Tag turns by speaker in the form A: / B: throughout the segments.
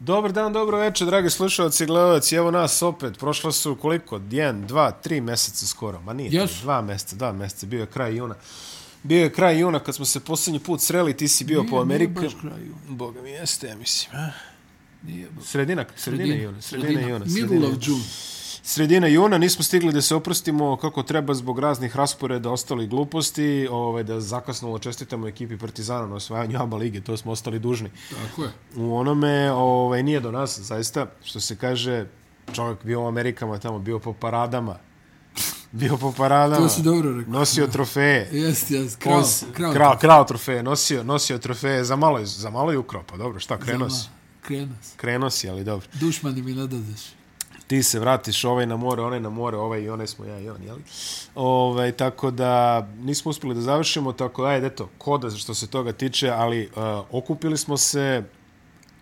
A: Dobar dan, dobro večer, dragi slušalci i gledalci. Evo nas opet. Prošla su koliko? 1, 2, 3 mjeseca skoro. Ma nije, yes.
B: Jesu.
A: dva mjeseca, dva mjeseca. Bio je kraj juna. Bio je kraj juna kad smo se posljednji put sreli, ti si bio
B: Nije-
A: po Ameriku.
B: Nije baš kraju.
A: Boga mi jeste, ja mislim. A?
B: Nije baš.
A: Sredina, sredina, juna. Sredina, juna.
B: Middle
A: sredina
B: of
A: juna.
B: June.
A: Sredina juna, nismo stigli da se oprostimo kako treba zbog raznih rasporeda ostalih gluposti, ovaj, da zakasnulo čestitamo ekipi Partizana na osvajanju ABA lige, to smo ostali dužni.
B: Tako je.
A: u onome, ovaj, nije do nas, zaista, što se kaže, čovjek bio u Amerikama tamo, bio po paradama. Bio po paradama.
B: To si dobro rekao.
A: Nosio trofeje.
B: Jest, jest, krao,
A: Os-
B: krao.
A: krao, krao trofeje, nosio, nosio trofeje, za malo, je- za malo je ukrao, pa dobro, šta, krenuo si.
B: Krenuo si.
A: Krenuo si, ali dobro.
B: Dušmani mi ne dadeš.
A: Ti se vratiš, ovaj na more, onaj na more, ovaj i one smo ja i on, jeli? Ovaj, tako da nismo uspjeli da završimo, tako da, ajde, eto, koda što se toga tiče, ali uh, okupili smo se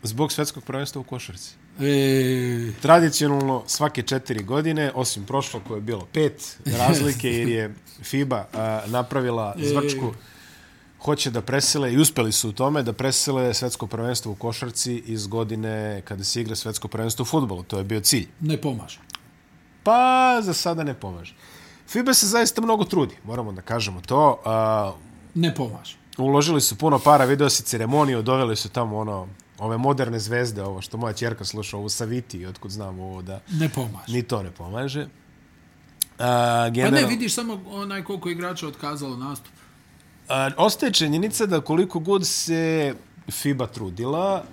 A: zbog svetskog prvenstva u košarci.
B: E,
A: Tradicionalno svake četiri godine, osim prošlo koje je bilo pet razlike jer je FIBA a, napravila zvrčku, hoće da presele i uspeli su u tome da presele svetsko prvenstvo u košarci iz godine kada se igra svetsko prvenstvo u futbolu. To je bio cilj.
B: ne pomaže.
A: Pa za sada ne pomaže. FIBA se zaista mnogo trudi, moramo da kažemo to. A,
B: Ne pomaže.
A: uložili su puno para, video si ceremoniju, doveli su tamo ono, ove moderne zvezde, ovo što moja čerka sluša, ovo Saviti, otkud znam ovo da...
B: Ne pomaže.
A: Ni to ne pomaže. A,
B: Pa ne,
A: general,
B: vidiš samo onaj koliko igrača otkazalo nastup. e,
A: a, ostaje činjenica da koliko god se FIBA trudila,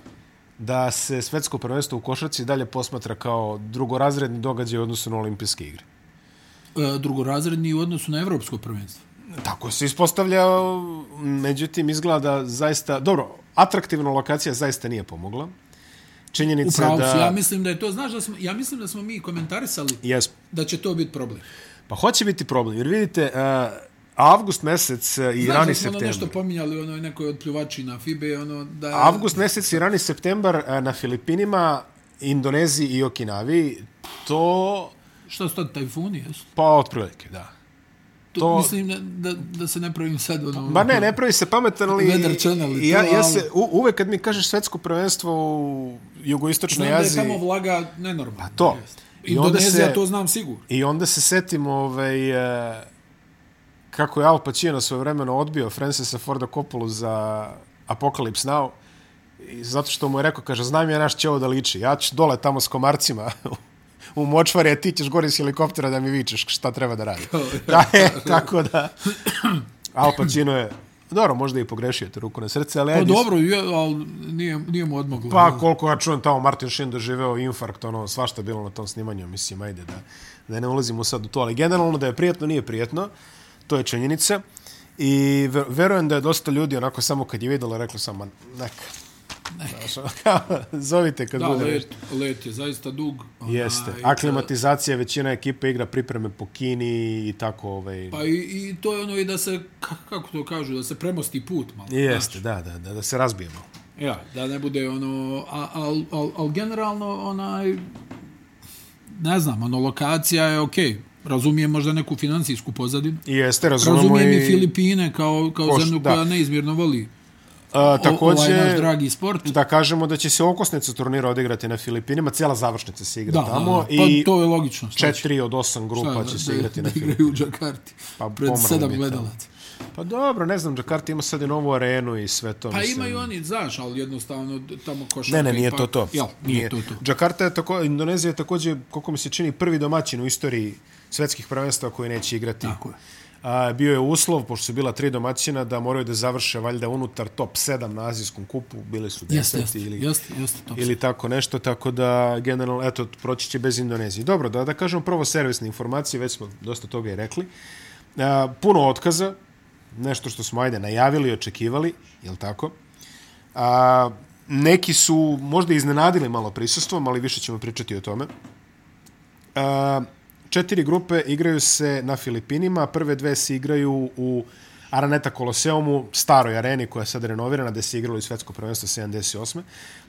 A: da se svetsko prvenstvo u košarci dalje posmatra kao drugorazredni događaj u odnosu na olimpijske igre.
B: E, drugorazredni u odnosu na evropsko prvenstvo.
A: Tako se ispostavlja, međutim, izgleda zaista... Dobro, atraktivna lokacija zaista nije pomogla. Činjenica
B: Upravo
A: da...
B: si, ja mislim da je to, znaš da smo, ja mislim da smo mi komentarisali
A: Jesmo.
B: da će to biti problem.
A: Pa hoće biti problem, jer vidite, a, avgust mesec a, i
B: Znaš
A: rani
B: da smo ono
A: septembar.
B: nešto pominjali u onoj nekoj od pljuvačina FIBE, ono da je...
A: Avgust mjesec i rani septembar e, na Filipinima, Indoneziji i Okinavi, to
B: Šta su to, tajfuni, jesu?
A: pa otprilike, da. To-
B: To, to... Mislim da, da, da se ne pravim sad ono...
A: Ba ne, ne pravi se pametan, ali
B: Weather Channel i
A: ja,
B: to,
A: ja
B: ali-
A: se, u, uvek kad mi kažeš svetsko prvenstvo u
B: Znam
A: jugoistočnoj
B: da je
A: Aziji,
B: tamo vlaga nenormalna.
A: Pa to.
B: jest.
A: I onda
B: Indonezija,
A: se- E,
B: to znam sigurno.
A: i onda se setim ovaj, e, kako je Al Pacino svoje vremeno odbio Francisa Forda Coppolu za Apocalypse Now, I zato što mu je rekao, kaže, znam ja naš će ovo da liči, ja ću dole tamo s komarcima u močvari, a ti ćeš gore iz helikoptera da mi vičeš šta treba da radi. da, je, tako da, Al Pacino je, dobro, možda je i pogrešio te ruku na srce, ali...
B: Pa
A: ajde,
B: dobro, je, ali nije, nije mu odmoglo. ono.
A: Pa koliko ja čujem tamo Martin Sheen doživeo infarkt, ono svašta je bilo na tom snimanju, mislim ajde da da ne ulazimo sad u to, ali generalno da je prijetno, nije prijetno. To je činjenica. I ver- verujem da je dosta ljudi onako samo kad je videlo reklo samo neka. Znaš, ono, kao, Zovite kad
B: da,
A: bude nešto.
B: let, let je zaista dug. onaj,
A: Jeste. Aklimatizacija, većina ekipe igra pripreme po Kini i tako ovaj.
B: Pa i, i to je ono i da se, ka- kako to kažu, da se premosti put malo.
A: Jeste, da, da, da, da se razbijemo.
B: Ja, da ne bude ono, a- al, al, al generalno onaj, ne znam, ono, lokacija je okej. Razumijem možda neku financijsku pozadinu.
A: I jeste, razumemo
B: Razumijem i
A: i...
B: Filipine kao, kao
A: Koš-
B: zemlju
A: da.
B: koja neizmjerno voli
A: A,
B: o-
A: također,
B: ovaj naš dragi sport.
A: da kažemo da će se okosnica turnira odigrati na Filipinima, cijela završnica se igra
B: Da,
A: tamo
B: da, da. Pa
A: i
B: to je logično. šta će-
A: četiri od osam grupa
B: šta,
A: će
B: da-
A: se
B: da-
A: igrati
B: da
A: na Filipinima.
B: igraju u Džakarti.
A: Pa
B: pred
A: pomrli
B: sedam
A: bi tamo.
B: gledalaca.
A: Pa dobro, ne znam, Džakarta ima sad i novu arenu i sve to.
B: Pa
A: mislim.
B: imaju oni, znaš, ali jednostavno d- tamo košarka.
A: Ne, ne, nije
B: ipak-
A: to to.
B: Jel, nije, to to.
A: Džakarta je tako, Indonezija je također, koliko mi se čini, prvi domaćin u istoriji svetskih prvenstva koji neće igrati.
B: Tako je.
A: A, bio je uslov, pošto su bila tri domaćina, da moraju da završe valjda unutar top 7 na azijskom kupu, bili su 10
B: Jeste, jeste,
A: ili
B: jeste, jeste to.
A: ili tako nešto, tako da generalno, eto, proći će bez Indonezije. Dobro, da, da kažemo prvo servisne informacije, već smo dosta toga i rekli. E, puno otkaza, nešto što smo, ajde, najavili i očekivali, jel tako? A, neki su možda iznenadili malo prisustvom, ali više ćemo pričati o tome. A, četiri grupe igraju se na Filipinima, prve dve se igraju u Araneta Koloseumu, staroj areni koja je sad renovirana, gde se igralo i svetsko prvenstvo 78.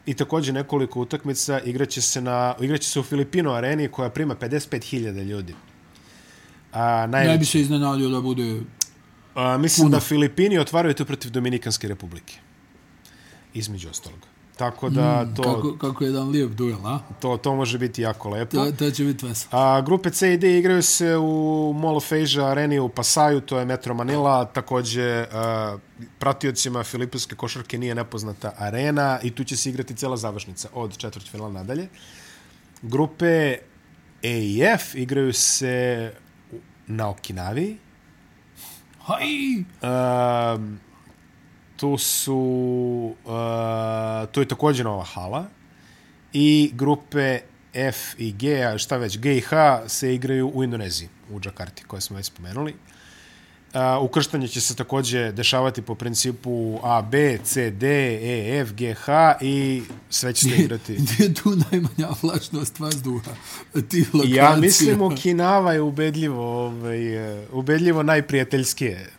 A: I također nekoliko utakmica igraće se, na, igraće se u Filipino areni koja prima 55.000 ljudi. A, naj,
B: Ne bi se iznenadio da bude...
A: a, mislim da Filipini otvaraju to protiv Dominikanske republike. Između ostalog. Tako da to,
B: Mm, Kako, kako jedan lijep duel, a?
A: to, to može biti jako lepo.
B: To, to će biti veselo.
A: A, grupe C i D igraju se u Mall of Asia areni u Pasaju, to je Metro Manila, takođe a, pratiocima filipinske košarke nije nepoznata arena i tu će se igrati cela završnica od četvrtfinala nadalje. Grupe E i F igraju se u- na Okinavi.
B: Haj!
A: Um, tu su... Uh, tu je također nova hala. I grupe F i G, a šta već, G i H se igraju u Indoneziji, u Džakarti, koje smo već spomenuli. Uh, ukrštanje će se takođe dešavati po principu A, B, C, D, E, F, G, H i sve će se Pa igrati.
B: Gdje je tu najmanja vlažnost vazduha? Ti lokacija.
A: Ja mislim Okinawa je ubedljivo, ovaj, eh, ubedljivo najprijateljskije.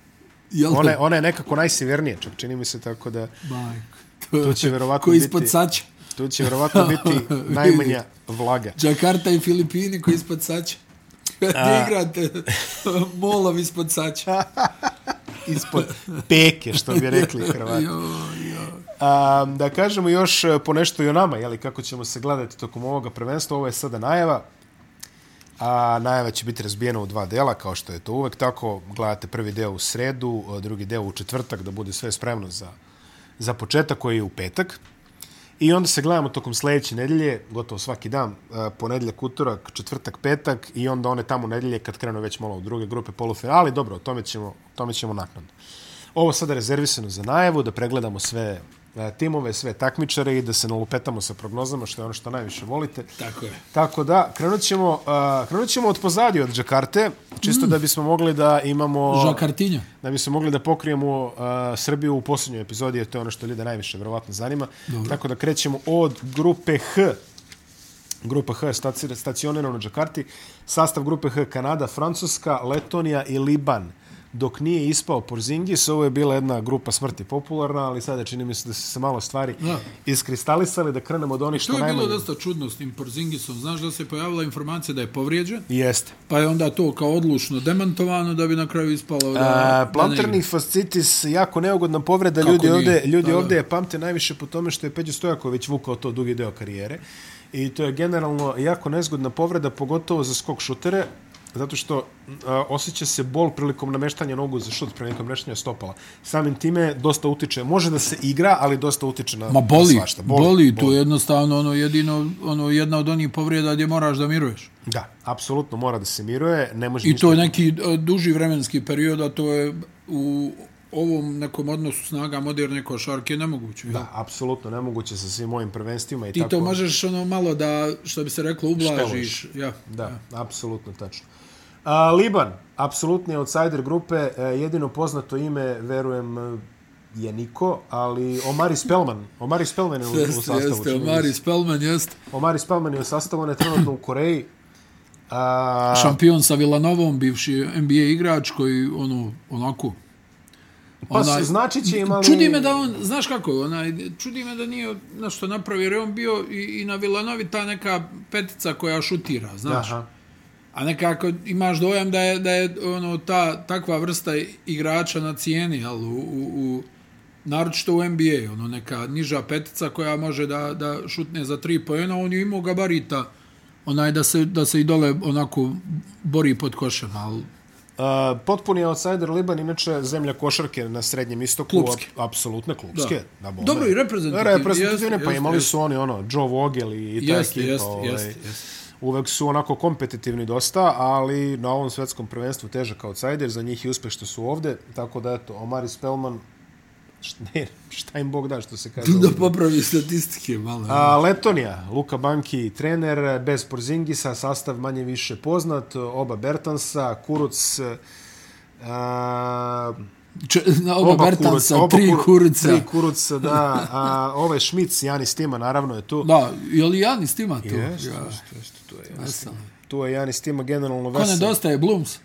B: Jel da?
A: Ona, je- ona je nekako najsevernije, čak čini mi se tako da...
B: Bajko. To,
A: To će verovatno
B: koji
A: biti-
B: ispod sača.
A: Tu će vjerovatno biti najmanja vlaga.
B: Jakarta i Filipini koji ispod sača. Gdje igrate? Molov ispod sača.
A: Ispod peke, što bi rekli Hrvati.
B: Jo, jo.
A: A, da kažemo još e, ponešto i o nama, jeli, kako ćemo se gledati tokom ovoga prvenstva. Ovo je sada najava. A najava će biti razbijena u dva dela, kao što je to uvek tako. Gledate prvi deo u sredu, e, drugi deo u četvrtak, da bude sve spremno za, za početak koji je u petak. I onda se gledamo tokom sledeće nedelje, gotovo svaki dan, e, ponedeljak, utorak, četvrtak, petak i onda one tamo nedelje kad krenu već malo u druge grupe polufinala, ali dobro, o tome ćemo, o tome ćemo naknadno. Ovo sada je rezervisano za najavu, da pregledamo sve e, timove, sve takmičare i da se nalupetamo sa prognozama, što je ono što najviše volite.
B: Tako je.
A: Tako da, krenut ćemo, uh, krenut ćemo od pozadi od Džakarte, čisto mm. da bismo mogli da imamo...
B: Žakartinja.
A: Da bismo mogli da pokrijemo uh, Srbiju u posljednjoj epizodi, jer to je ono što ljude najviše verovatno zanima. Dobro. Tako da krećemo od grupe H. Grupa H je staci- stacionirana u Džakarti. Sastav grupe H Kanada, Francuska, Letonija i Liban. Dok nije ispao Porzingis, ovo je bila jedna grupa smrti popularna, ali sada čini mi se da su se malo stvari
B: Da.
A: iskristalisali, da krenemo od onih što,
B: To je
A: najmanje...
B: bilo dosta čudno s tim Porzingisom. Znaš da se pojavila informacija da je povrijeđen,
A: Jeste.
B: pa je onda to kao odlučno demantovano da bi na kraju ispalo da, da
A: A,
B: ne
A: plantarni
B: igra.
A: fascitis, jako neugodna povreda.
B: Kako
A: ljudi
B: nije?
A: ovde, ljudi
B: Da, da.
A: ovde je pamte najviše po tome što je Peđo Stojaković vukao to dugi deo karijere. I to je generalno jako nezgodna povreda, pogotovo za skok šutere, zato što a, osjeća se bol prilikom nameštanja nogu za šut, prilikom nameštanja stopala. Samim time dosta utiče. Može da se igra, ali dosta utiče na,
B: Ma boli,
A: na svašta.
B: boli, boli, to je jednostavno ono jedino, ono jedna od onih povrijeda gdje moraš da miruješ.
A: Da, apsolutno mora da se miruje. Ne može
B: I
A: ništa
B: to je neki e, duži vremenski period, a to je u ovom nekom odnosu snaga moderne košarke nemoguće. Da.
A: Da, apsolutno nemoguće sa svim ovim prvenstvima i
B: Ti
A: tako.
B: to možeš ono malo da, što bi se reklo, ublažiš.
A: Šteluješ.
B: Ja.
A: Da, apsolutno tačno. A, Liban, apsolutni outsider grupe, e, jedino poznato ime, verujem, e, je Niko, ali Omari Spellman. Omari Spellman je u, u
B: Jeste,
A: sastavu.
B: jeste,
A: čini mi
B: Omari
A: se.
B: Spellman jeste
A: Omari Spellman je u sastavu, on je trenutno u Koreji. A,
B: šampion sa Villanovom, bivši NBA igrač koji ono, onako,
A: pa
B: onaj-
A: znači će im, ali...
B: Čudi me da on, znaš kako, onaj, čudi me da nije nešto napravio, jer je on bio i, i na Villanovi ta neka petica koja šutira, znaš.
A: Aha.
B: A nekako imaš dojam da je, da je ono, ta, takva vrsta igrača na cijeni, jel, u, u, u, naročito u NBA, ono, neka niža petica koja može da, da šutne za tri pojena, on je imao gabarita, onaj, da se, da se i dole onako bori pod košem, ali
A: Uh, potpuni outsider Liban, inače zemlja košarke na Srednjem istoku.
B: Klupske.
A: ap- Apsolutno klupske. Da. bome.
B: Dobro, i reprezentativne,
A: Reprezentativne,
B: jeste,
A: pa
B: jeste,
A: imali
B: jeste.
A: su oni ono, Joe Vogel i, i ta
B: jeste,
A: ekipa.
B: jeste,
A: ovaj,
B: jeste, jeste.
A: uvek su onako kompetitivni dosta, ali na ovom svetskom prvenstvu težak outsider, za njih je uspeh što su ovde, tako da eto, Omari Spellman, št- ne, šta im Bog da što se kaže.
B: Da popravi statistike malo. A,
A: A, Letonija, Luka Banki trener, bez Porzingisa, sastav manje više poznat, oba Bertansa, Kuruc, e, a,
B: Če, na oba, oba Bertansa,
A: Kuruc-
B: oba tri
A: Kur-
B: kurica.
A: Tri Kuruca, da. A, ovaj Šmic, Janis Tima, naravno je tu.
B: Da, je li Janis tima tu?
A: Jeste,
B: ja,
A: jeste, jeste, tu je Janis
B: veselo.
A: Tima. Tu je Janis Tima generalno
B: Ko
A: vesel.
B: nedostaje, Blooms?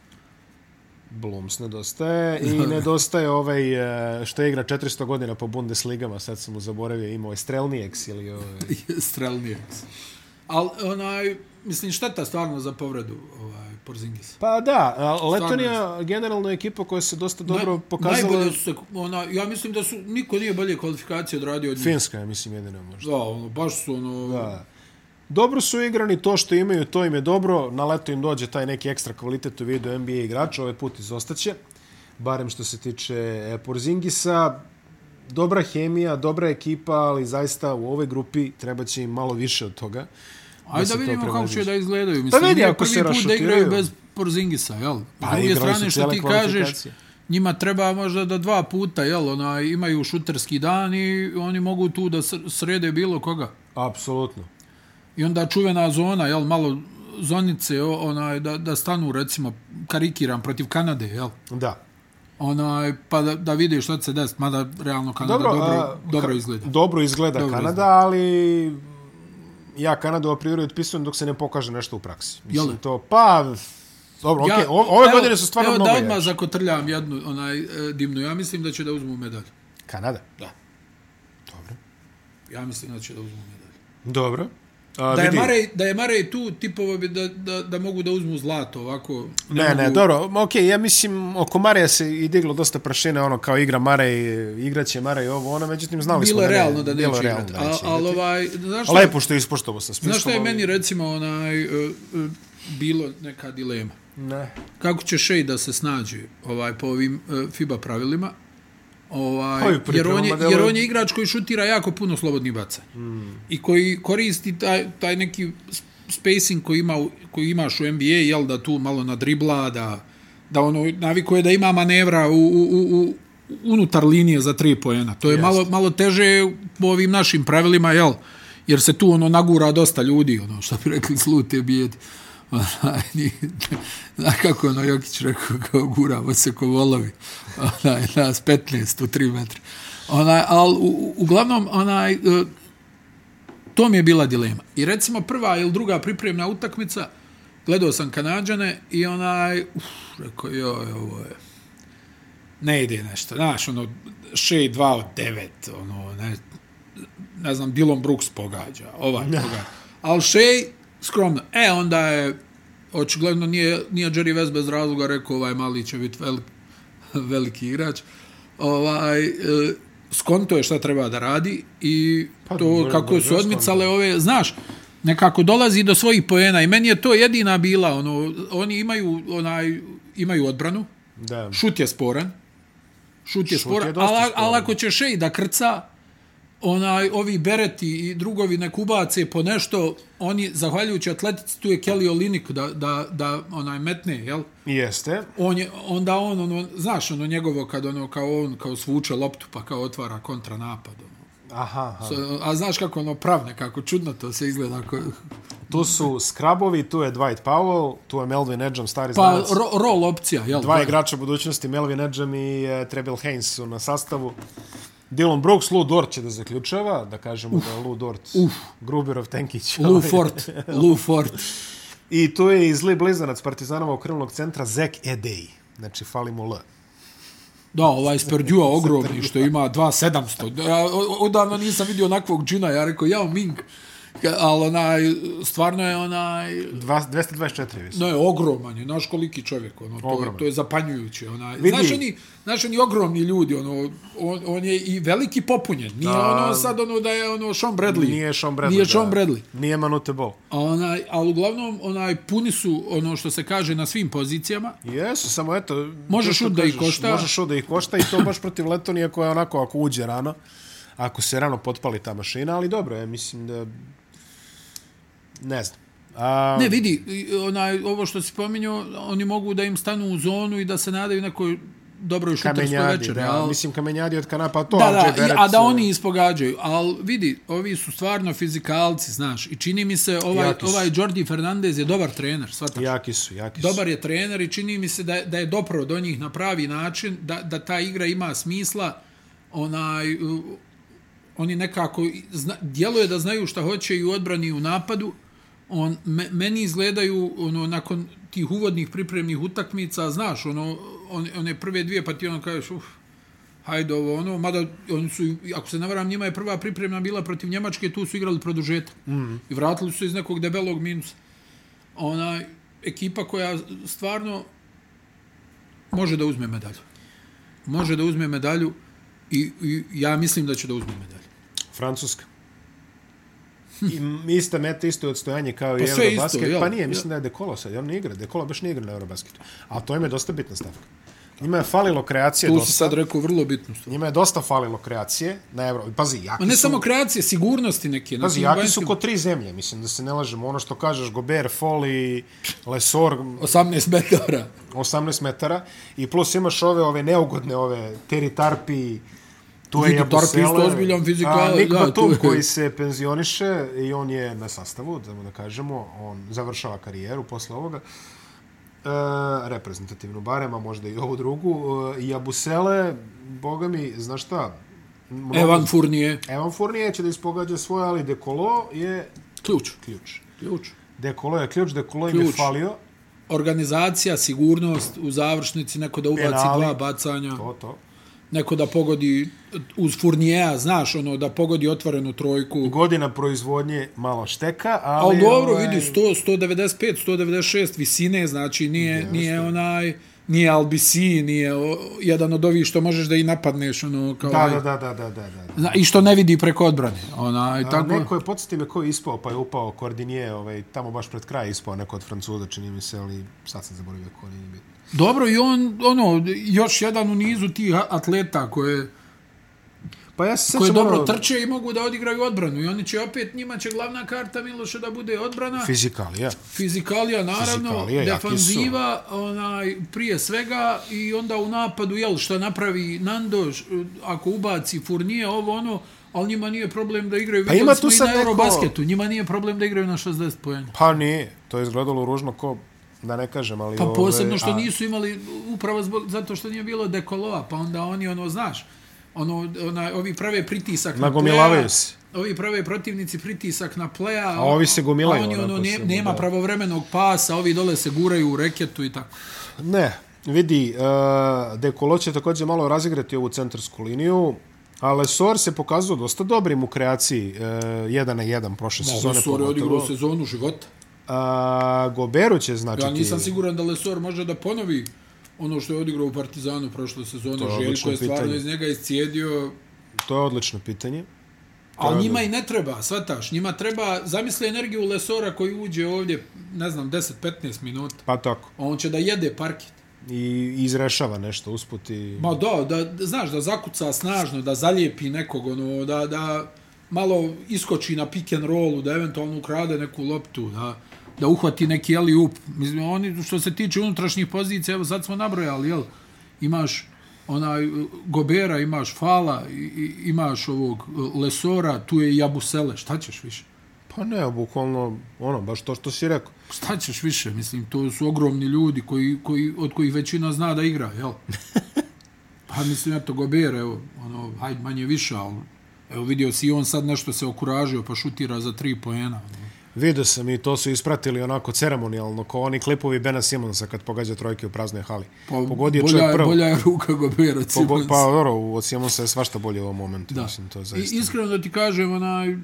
A: Blooms nedostaje i nedostaje ovaj e, što igra 400 godina po Bundesligama, sad sam mu zaboravio, imao je Strelnijeks ili ovaj...
B: Strelnijeks. Ali, onaj, mislim, šteta stvarno za povredu ovaj, Porzingis.
A: Pa da, a
B: Stvarno
A: Letonija generalno je ekipa koja se dosta dobro
B: Naj-
A: pokazala.
B: Najbolje su se, ona, ja mislim da su, niko nije bolje kvalifikacije odradio od njih.
A: Finska je, mislim, jedina možda.
B: Da, ono, baš su ono...
A: Da. Dobro su igrani, to što imaju, to im je dobro. Na leto im dođe taj neki ekstra kvalitet u vidu NBA igrača, ovaj put izostaće. Barem što se tiče e, Porzingisa. Dobra hemija, dobra ekipa, ali zaista u ovoj grupi treba će im malo više od toga.
B: Ajde da,
A: se to
B: vidimo kako će
A: prevaziđe.
B: da izgledaju. Mislim,
A: vidi,
B: nije
A: ako se
B: prvi put da
A: rašutiraju.
B: igraju bez Porzingisa, jel?
A: Pa,
B: Pa, druge
A: igrali su
B: strane, što
A: cijele
B: ti kažeš,
A: kvalifikacije.
B: njima treba možda da dva puta, jel? Ona, imaju šuterski dan i oni mogu tu da sr- srede bilo koga.
A: Apsolutno.
B: I onda čuvena zona, jel? Malo zonice, o- onaj, da, da stanu, recimo, karikiram protiv Kanade, jel?
A: Da.
B: Onaj, pa da, da vide što će se desiti, mada realno Kanada
A: Dobro,
B: dobro, dobro,
A: a,
B: dobro
A: ka-
B: izgleda.
A: Dobro izgleda
B: Dobro
A: Kanada,
B: izgleda.
A: ali ja Kanadu a priori otpisujem dok se ne pokaže nešto u praksi. Mislim,
B: Jeli?
A: to, pa, dobro, ja,
B: Ja-
A: okay, ove
B: evo-
A: godine su stvarno
B: evo,
A: mnogo
B: da odmah
A: jače.
B: zakotrljam jednu onaj, e, dimnu. Ja mislim da će da uzmu medalju.
A: Kanada?
B: Da.
A: Dobro.
B: Ja mislim da će da uzmu medalju.
A: Dobro. A,
B: Da je,
A: Pa vidi.
B: Marej, da je Marej tu, tipova bi da, da, da mogu da uzmu zlato ovako.
A: Ne, ne,
B: mogu-
A: dobro, ok, ja mislim, oko Marija se i diglo dosta prašine, ono kao igra Marej, igraće Marej ovo, ono, međutim, znali smo
B: Bilo je realno da
A: bilo
B: neće
A: realno
B: igrati.
A: da
B: A-
A: neće
B: Ali
A: igrati.
B: ovaj, znaš šta,
A: Lepo što je ispoštovo sa smislom.
B: znaš šta je
A: ali-
B: meni recimo onaj, e, e, bilo neka dilema?
A: Ne.
B: Kako će Shea da se snađe ovaj, po ovim e, FIBA pravilima?
A: Pa i
B: Ovaj,
A: u
B: jer, on je,
A: pripremama deluje-
B: jer on je igrač koji šutira jako puno slobodnih baca. Mm. I koji koristi taj, taj neki s- spacing koji, ima, u- koji imaš u NBA, jel da tu malo nadribla, da, da ono navikuje da ima manevra u, u, u, u unutar linije za tri pojena. To je malo, malo teže po ovim našim pravilima, jel? Jer se tu ono nagura dosta ljudi, ono što bi rekli slute bijedi. Onaj, ni- Znaš kako je ono Jokić rekao, kao guramo se ko volovi. Onaj, nas 15 u 3 metra. Onaj, ali u, u- uglavnom, onaj, e, to mi je bila dilema. I recimo prva ili druga pripremna utakmica, gledao sam Kanadžane i onaj, uf, rekao, joj, ovo je, ne ide nešto. Znaš, ono, 6-2 od 9, ono, ne, ne znam, Dylan Brooks pogađa, ovaj pogađa. Ali Shea, skromno. E, onda je, očigledno nije, nije Jerry West bez razloga rekao, ovaj mali će biti velik, veliki igrač. Ovaj, e, skonto je šta treba da radi i
A: Pa,
B: pa,
A: dobro,
B: to kako
A: dobro,
B: su
A: skonto.
B: odmicale ove, znaš, nekako dolazi do svojih poena i meni je to jedina bila, ono, oni imaju, onaj, imaju odbranu,
A: Da.
B: šut je sporan. Šut
A: Šut je
B: je sporan,
A: dosta
B: ali,
A: sporan.
B: ali ako će Shea da krca, onaj, ovi Bereti i drugovi nek ubace po nešto, oni, zahvaljujući atletici, tu je Kelly Olinik da, da, da onaj metne, jel?
A: Jeste.
B: On je, onda on, ono, znaš, ono njegovo kad ono, kao on, kao svuče loptu pa kao otvara kontranapad. Ono.
A: Aha, aha.
B: So, a znaš kako ono pravne, kako čudno to se izgleda. Ako,
A: Tu su Skrabovi, tu je Dwight Powell, tu je Melvin Edžam, stari
B: pa
A: znanac.
B: ro, roll opcija, jel?
A: Dva igrača budućnosti, Melvin Edžam i e, Treble Haynes su na sastavu. Dylan Brooks, Lou Dort će da zaključava, da kažemo da je Lou Dort, uf. Gruberov Tenkić. ovaj.
B: Lou Fort, Lou Fort.
A: I tu je i zli blizanac Partizanova okrilnog centra, Zek Edej. Znači, falimo L.
B: Da, ovaj Sperdua ogromni što ima 2700. Ja o- odavno nisam vidio onakvog džina, ja rekao, jao Ming. Ka- Ali onaj, stvarno je onaj,
A: Dva- 224 visok.
B: no je ogroman, je, znaš koliki čovjek, ono, to,
A: Ogroman.
B: je, to je zapanjujuće. Onaj.
A: Vidi.
B: Znaš, oni, znaš oni ogromni ljudi, ono, on, on je i veliki popunjen, nije
A: Da.
B: ono sad ono da je ono Sean Bradley.
A: Nije Sean Bradley.
B: Nije Sean
A: da.
B: Bradley.
A: Nije Manute Bol.
B: A onaj, ali uglavnom, onaj, puni su ono što se kaže na svim pozicijama,
A: Jesu, samo eto...
B: Može
A: to što
B: šut da ih
A: kažeš,
B: košta.
A: Može šut da ih košta i to baš protiv Letonije koja onako ako uđe rano, ako se rano potpali ta mašina, ali dobro, ja mislim da... Ne znam. A,
B: Ne, vidi, i, onaj, ovo što si pominjao, oni mogu da im stanu u zonu i da se nadaju nekoj dobroj šutarskoj
A: kamenjadi,
B: večeri.
A: da,
B: al-
A: mislim kamenjadi od kanapa, a to
B: da,
A: RJ
B: da, i,
A: Barrett,
B: a da
A: e,
B: oni ispogađaju. Ali vidi, ovi su stvarno fizikalci, znaš. I čini mi se, ovaj,
A: Jaki su.
B: ovaj Jordi Fernandez je dobar trener, svataš.
A: eh, Jaki su, jaki su.
B: Dobar je trener i čini mi se da, je- da je dopro do njih na pravi način, da, da ta igra ima smisla, onaj, uh, oni nekako, i zna, djeluje da znaju šta hoće i u odbrani i u napadu, on, me, meni izgledaju ono, nakon tih uvodnih pripremnih utakmica, znaš, ono, on, one prve dvije, pa ti ono kažeš, uf, hajde ovo, ono, mada oni su, ako se ne varam, njima je prva pripremna bila protiv Njemačke, tu su igrali produžetak. Mm. I vratili su se iz nekog debelog minusa. Onaj, ekipa koja stvarno može da uzme medalju. Može da uzme medalju i, i ja mislim da će da uzme medalju.
A: E, Francuska. I ista meta, isto odstojanje kao i
B: Pa sve isto,
A: Eurobasket.
B: jel?
A: pa nije, mislim da je Dekolo sad, on ne igra. Dekolo baš ne igra na Eurobasketu. A to im je dosta bitna stavka. Njima je falilo kreacije
B: Tu si
A: dosta.
B: sad rekao vrlo bitnu stvar.
A: Njima je dosta falilo kreacije na Euro. Pazi, jaki
B: Ma ne
A: su...
B: samo kreacije, sigurnosti neke. na
A: Pazi,
B: tim
A: jaki su
B: vanjskim-
A: ko tri zemlje, mislim, da se ne lažemo. Ono što kažeš, Gober, Foli, Lesor,
B: 18 metara.
A: 18 metara. I plus imaš ove, ove neugodne, ove Teri Tarpi, tu je
B: Vidi, Tarpi
A: Jabusele.
B: isto ozbiljan fizikalac,
A: A, Nik
B: da,
A: Batum
B: tu je.
A: koji se penzioniše i on je na sastavu, da mu da kažemo, on završava karijeru posle ovoga. E, reprezentativnu barem, a možda i ovu drugu. E, I Abusele, boga mi, znaš šta, mnogo-
B: Evan Fournier.
A: Evan Fournier će da ispogađa svoje, ali Dekolo je
B: Ključ.
A: ključ.
B: Ključ.
A: Dekolo je ključ, Dekolo im je
B: Ključ.
A: falio.
B: Organizacija, sigurnost u završnici, neko da ubaci
A: Penali.
B: dva bacanja,
A: To, to.
B: neko da pogodi uz Fourniera, znaš, ono, da pogodi otvorenu trojku.
A: Godina proizvodnje malo šteka, ali...
B: Ali dobro,
A: ovaj,
B: vidi, 100, 195, 196 visine, znači nije, nije onaj, nije Albisi, nije o, jedan od ovih što možeš da i napadneš, ono, kao...
A: Da, da, da, da, da, da. da.
B: Zna, I što ne vidi preko odbrane, onaj,
A: A,
B: tako...
A: Neko je, podsjeti me, ko je ispao, pa je upao Kordinije, ovaj, tamo baš pred kraj je ispao neko od Francuza, čini mi se, ali sad sam zaboravio ko nije bitno.
B: Dobro, i on, ono, još jedan u nizu tih atleta koje,
A: Pa ja se
B: koje
A: sećam,
B: dobro
A: ono,
B: trče i mogu da odigraju odbranu. I oni će opet, njima će glavna karta Miloše da bude odbrana,
A: Fizikalija.
B: fizikalija naravno,
A: Fizikalija, jaki su.
B: defanziva, onaj, prije svega, i onda u napadu, jel, što napravi Nando, š- ako ubaci Furnije, ovo ono, ali njima nije problem da igraju.
A: Pa
B: Vidjeli
A: ima
B: smo
A: tu
B: i
A: sad
B: na
A: neko-
B: Eurobasketu, njima nije problem da igraju na 60 pojena.
A: Pa nije, to je izgledalo ružno ko, da ne kažem, ali...
B: Pa
A: ovaj,
B: posebno što
A: a-
B: nisu imali upravo zbog, zato što nije bilo dekolova, pa onda oni ono znaš, ono ona ovi prave pritisak na
A: Nagomilavaju
B: playa,
A: se.
B: Ovi prave protivnici pritisak na pleja,
A: A ovi se gomilaju
B: A oni ono
A: onako
B: ne,
A: samo,
B: nema
A: da.
B: pravovremenog pasa, ovi dole se guraju u reketu i tako.
A: Pa Ne, vidi, uh, Dekolo će također malo razigrati ovu centarsku liniju, a Lesor se pokazao dosta dobrim u kreaciji uh, 1 na 1 prošle sezone.
B: Lesor je odigrao sezonu života.
A: Uh, Goberu će značiti...
B: Ja nisam siguran da Lesor može da ponovi ono što je odigrao u Partizanu prošle sezone.
A: je
B: Željko
A: odlično
B: je stvarno
A: pitanje.
B: iz njega iscijedio
A: To je odlično pitanje.
B: Ali njima i ne treba, svataš. Njima treba, zamisli energiju Lesora koji uđe ovdje, ne znam, 10-15 minuta.
A: Pa tako.
B: A on će da jede parket.
A: I izrešava nešto usput i...
B: Ma da, da, da, znaš, da zakuca snažno, da zalijepi nekog, ono, da, da malo iskoči na pick and rollu, da eventualno ukrade neku loptu, da, da uhvati neki eli up. Mislim, oni, što se tiče unutrašnjih pozicija, evo sad smo nabrojali, jel? Imaš onaj e, Gobera, imaš Fala, i, i, imaš ovog e, Lesora, tu je i Jabusele, šta ćeš više?
A: Pa ne, bukvalno, ono, baš to što si rekao.
B: Šta ćeš više, mislim, to su ogromni ljudi koji, koji, od kojih većina zna da igra, jel? Pa mislim, eto, Gober, evo, ono, hajde manje više, ali evo vidio si i on sad nešto se okuražio pa šutira za tri poena. ono.
A: Vidio sam i to su ispratili onako ceremonijalno, kao oni klipovi Bena Simonsa kad pogađa trojke u praznoj hali. Pa, Pogodio
B: bolja,
A: čovjek
B: je-
A: prvo.
B: Bolja je ruka Gobera od
A: Pogo-
B: Simonsa.
A: Pa dobro, u- od Simonsa je svašta bolje u ovom momentu. Da. Mislim, to je
B: I,
A: zaista.
B: iskreno da ti kažem, onaj,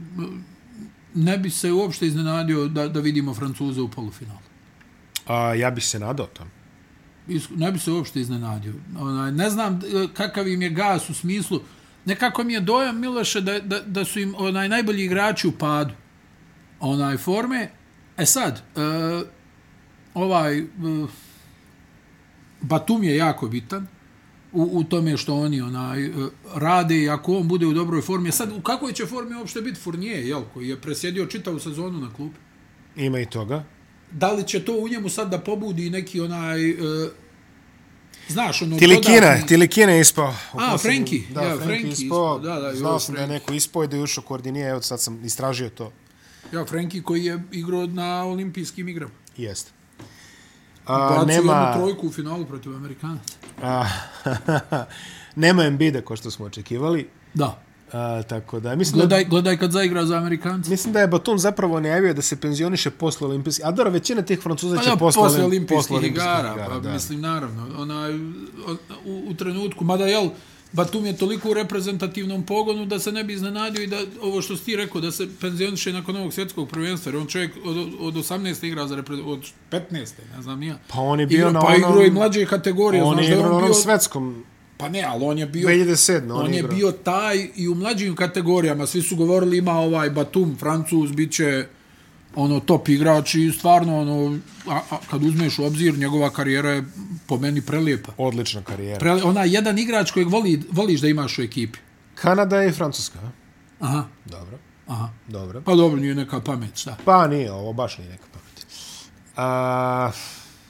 B: ne bi se uopšte iznenadio da, da vidimo Francuza u polufinalu.
A: A, ja bih se nadao tamo.
B: Isk- ne bi se uopšte iznenadio. Onaj, ne znam e, kakav im je gas u smislu. Nekako mi je dojam, Miloše, da, da, da su im onaj najbolji igrači u padu onaj forme. E sad, e, ovaj... E, Batum je jako bitan u, u tome što oni onaj e, rade i ako on bude u dobroj formi. E Sad, u kakvoj će formi uopšte biti Fournier, jel, koji je presjedio čitavu sezonu na klupi?
A: Ima i toga.
B: da li će to u njemu sad da pobudi neki onaj e, znaš ono
A: Tilikina,
B: dodatni-
A: Tilikina je ispao. U
B: A,
A: posljednjem-
B: Frenki,
A: Da,
B: ja,
A: Frenki,
B: Frenki
A: ispao.
B: ispao, da, da, i
A: Znao
B: ovo
A: sam da je
B: Frenki.
A: neko ispao i da je ušao koordinije, evo sad sam istražio to.
B: ja Frenki koji je igrao na olimpijskim igrama
A: Jeste.
B: bacio
A: A,
B: nema...
A: nema,
B: jednu trojku u finalu protiv Amerikanaca
A: a, nema Embida, ko što smo očekivali.
B: da
A: A, tako da, mislim da,
B: gledaj, gledaj kad zaigra za Amerikanca
A: mislim da je Batum zapravo najavio da se penzioniše posle olimpijskih. A dobro, većina tih Francuza
B: Pa
A: će
B: da,
A: posle,
B: posle
A: olim-
B: olimpijskih
A: posle
B: igara,
A: igara,
B: pa
A: da.
B: mislim naravno, onaj, o- u, u trenutku, mada jel, Batum je toliko u reprezentativnom pogonu da se ne bi iznenadio i da ovo što si ti rekao, da se penzioniše nakon ovog svjetskog prvenstva, jer on čovjek od, od 18 igra za reprezentaciju, od 15, ne znam nija.
A: Pa on je bio na
B: pa
A: onom-
B: igrao i mlađe kategorije,
A: On
B: znaš
A: je
B: da
A: igrao na
B: on
A: onom
B: bio...
A: svetskom
B: Pa ne, ali on je bio...
A: 2007.
B: On je bio taj i u mlađim kategorijama, svi su govorili ima ovaj Batum, Francuz, bit će ono top igrač i stvarno ono, a, a, kad uzmeš u obzir, njegova karijera je po meni prelijepa.
A: Odlična karijera.
B: Prele, ona jedan igrač kojeg voli, voliš da imaš u ekipi.
A: Kanada i Francuska. a?
B: Aha,
A: Dobro,
B: aha.
A: dobro.
B: Pa dobro, nije neka pamet, šta.
A: Pa nije, ovo baš nije neka pamet. A,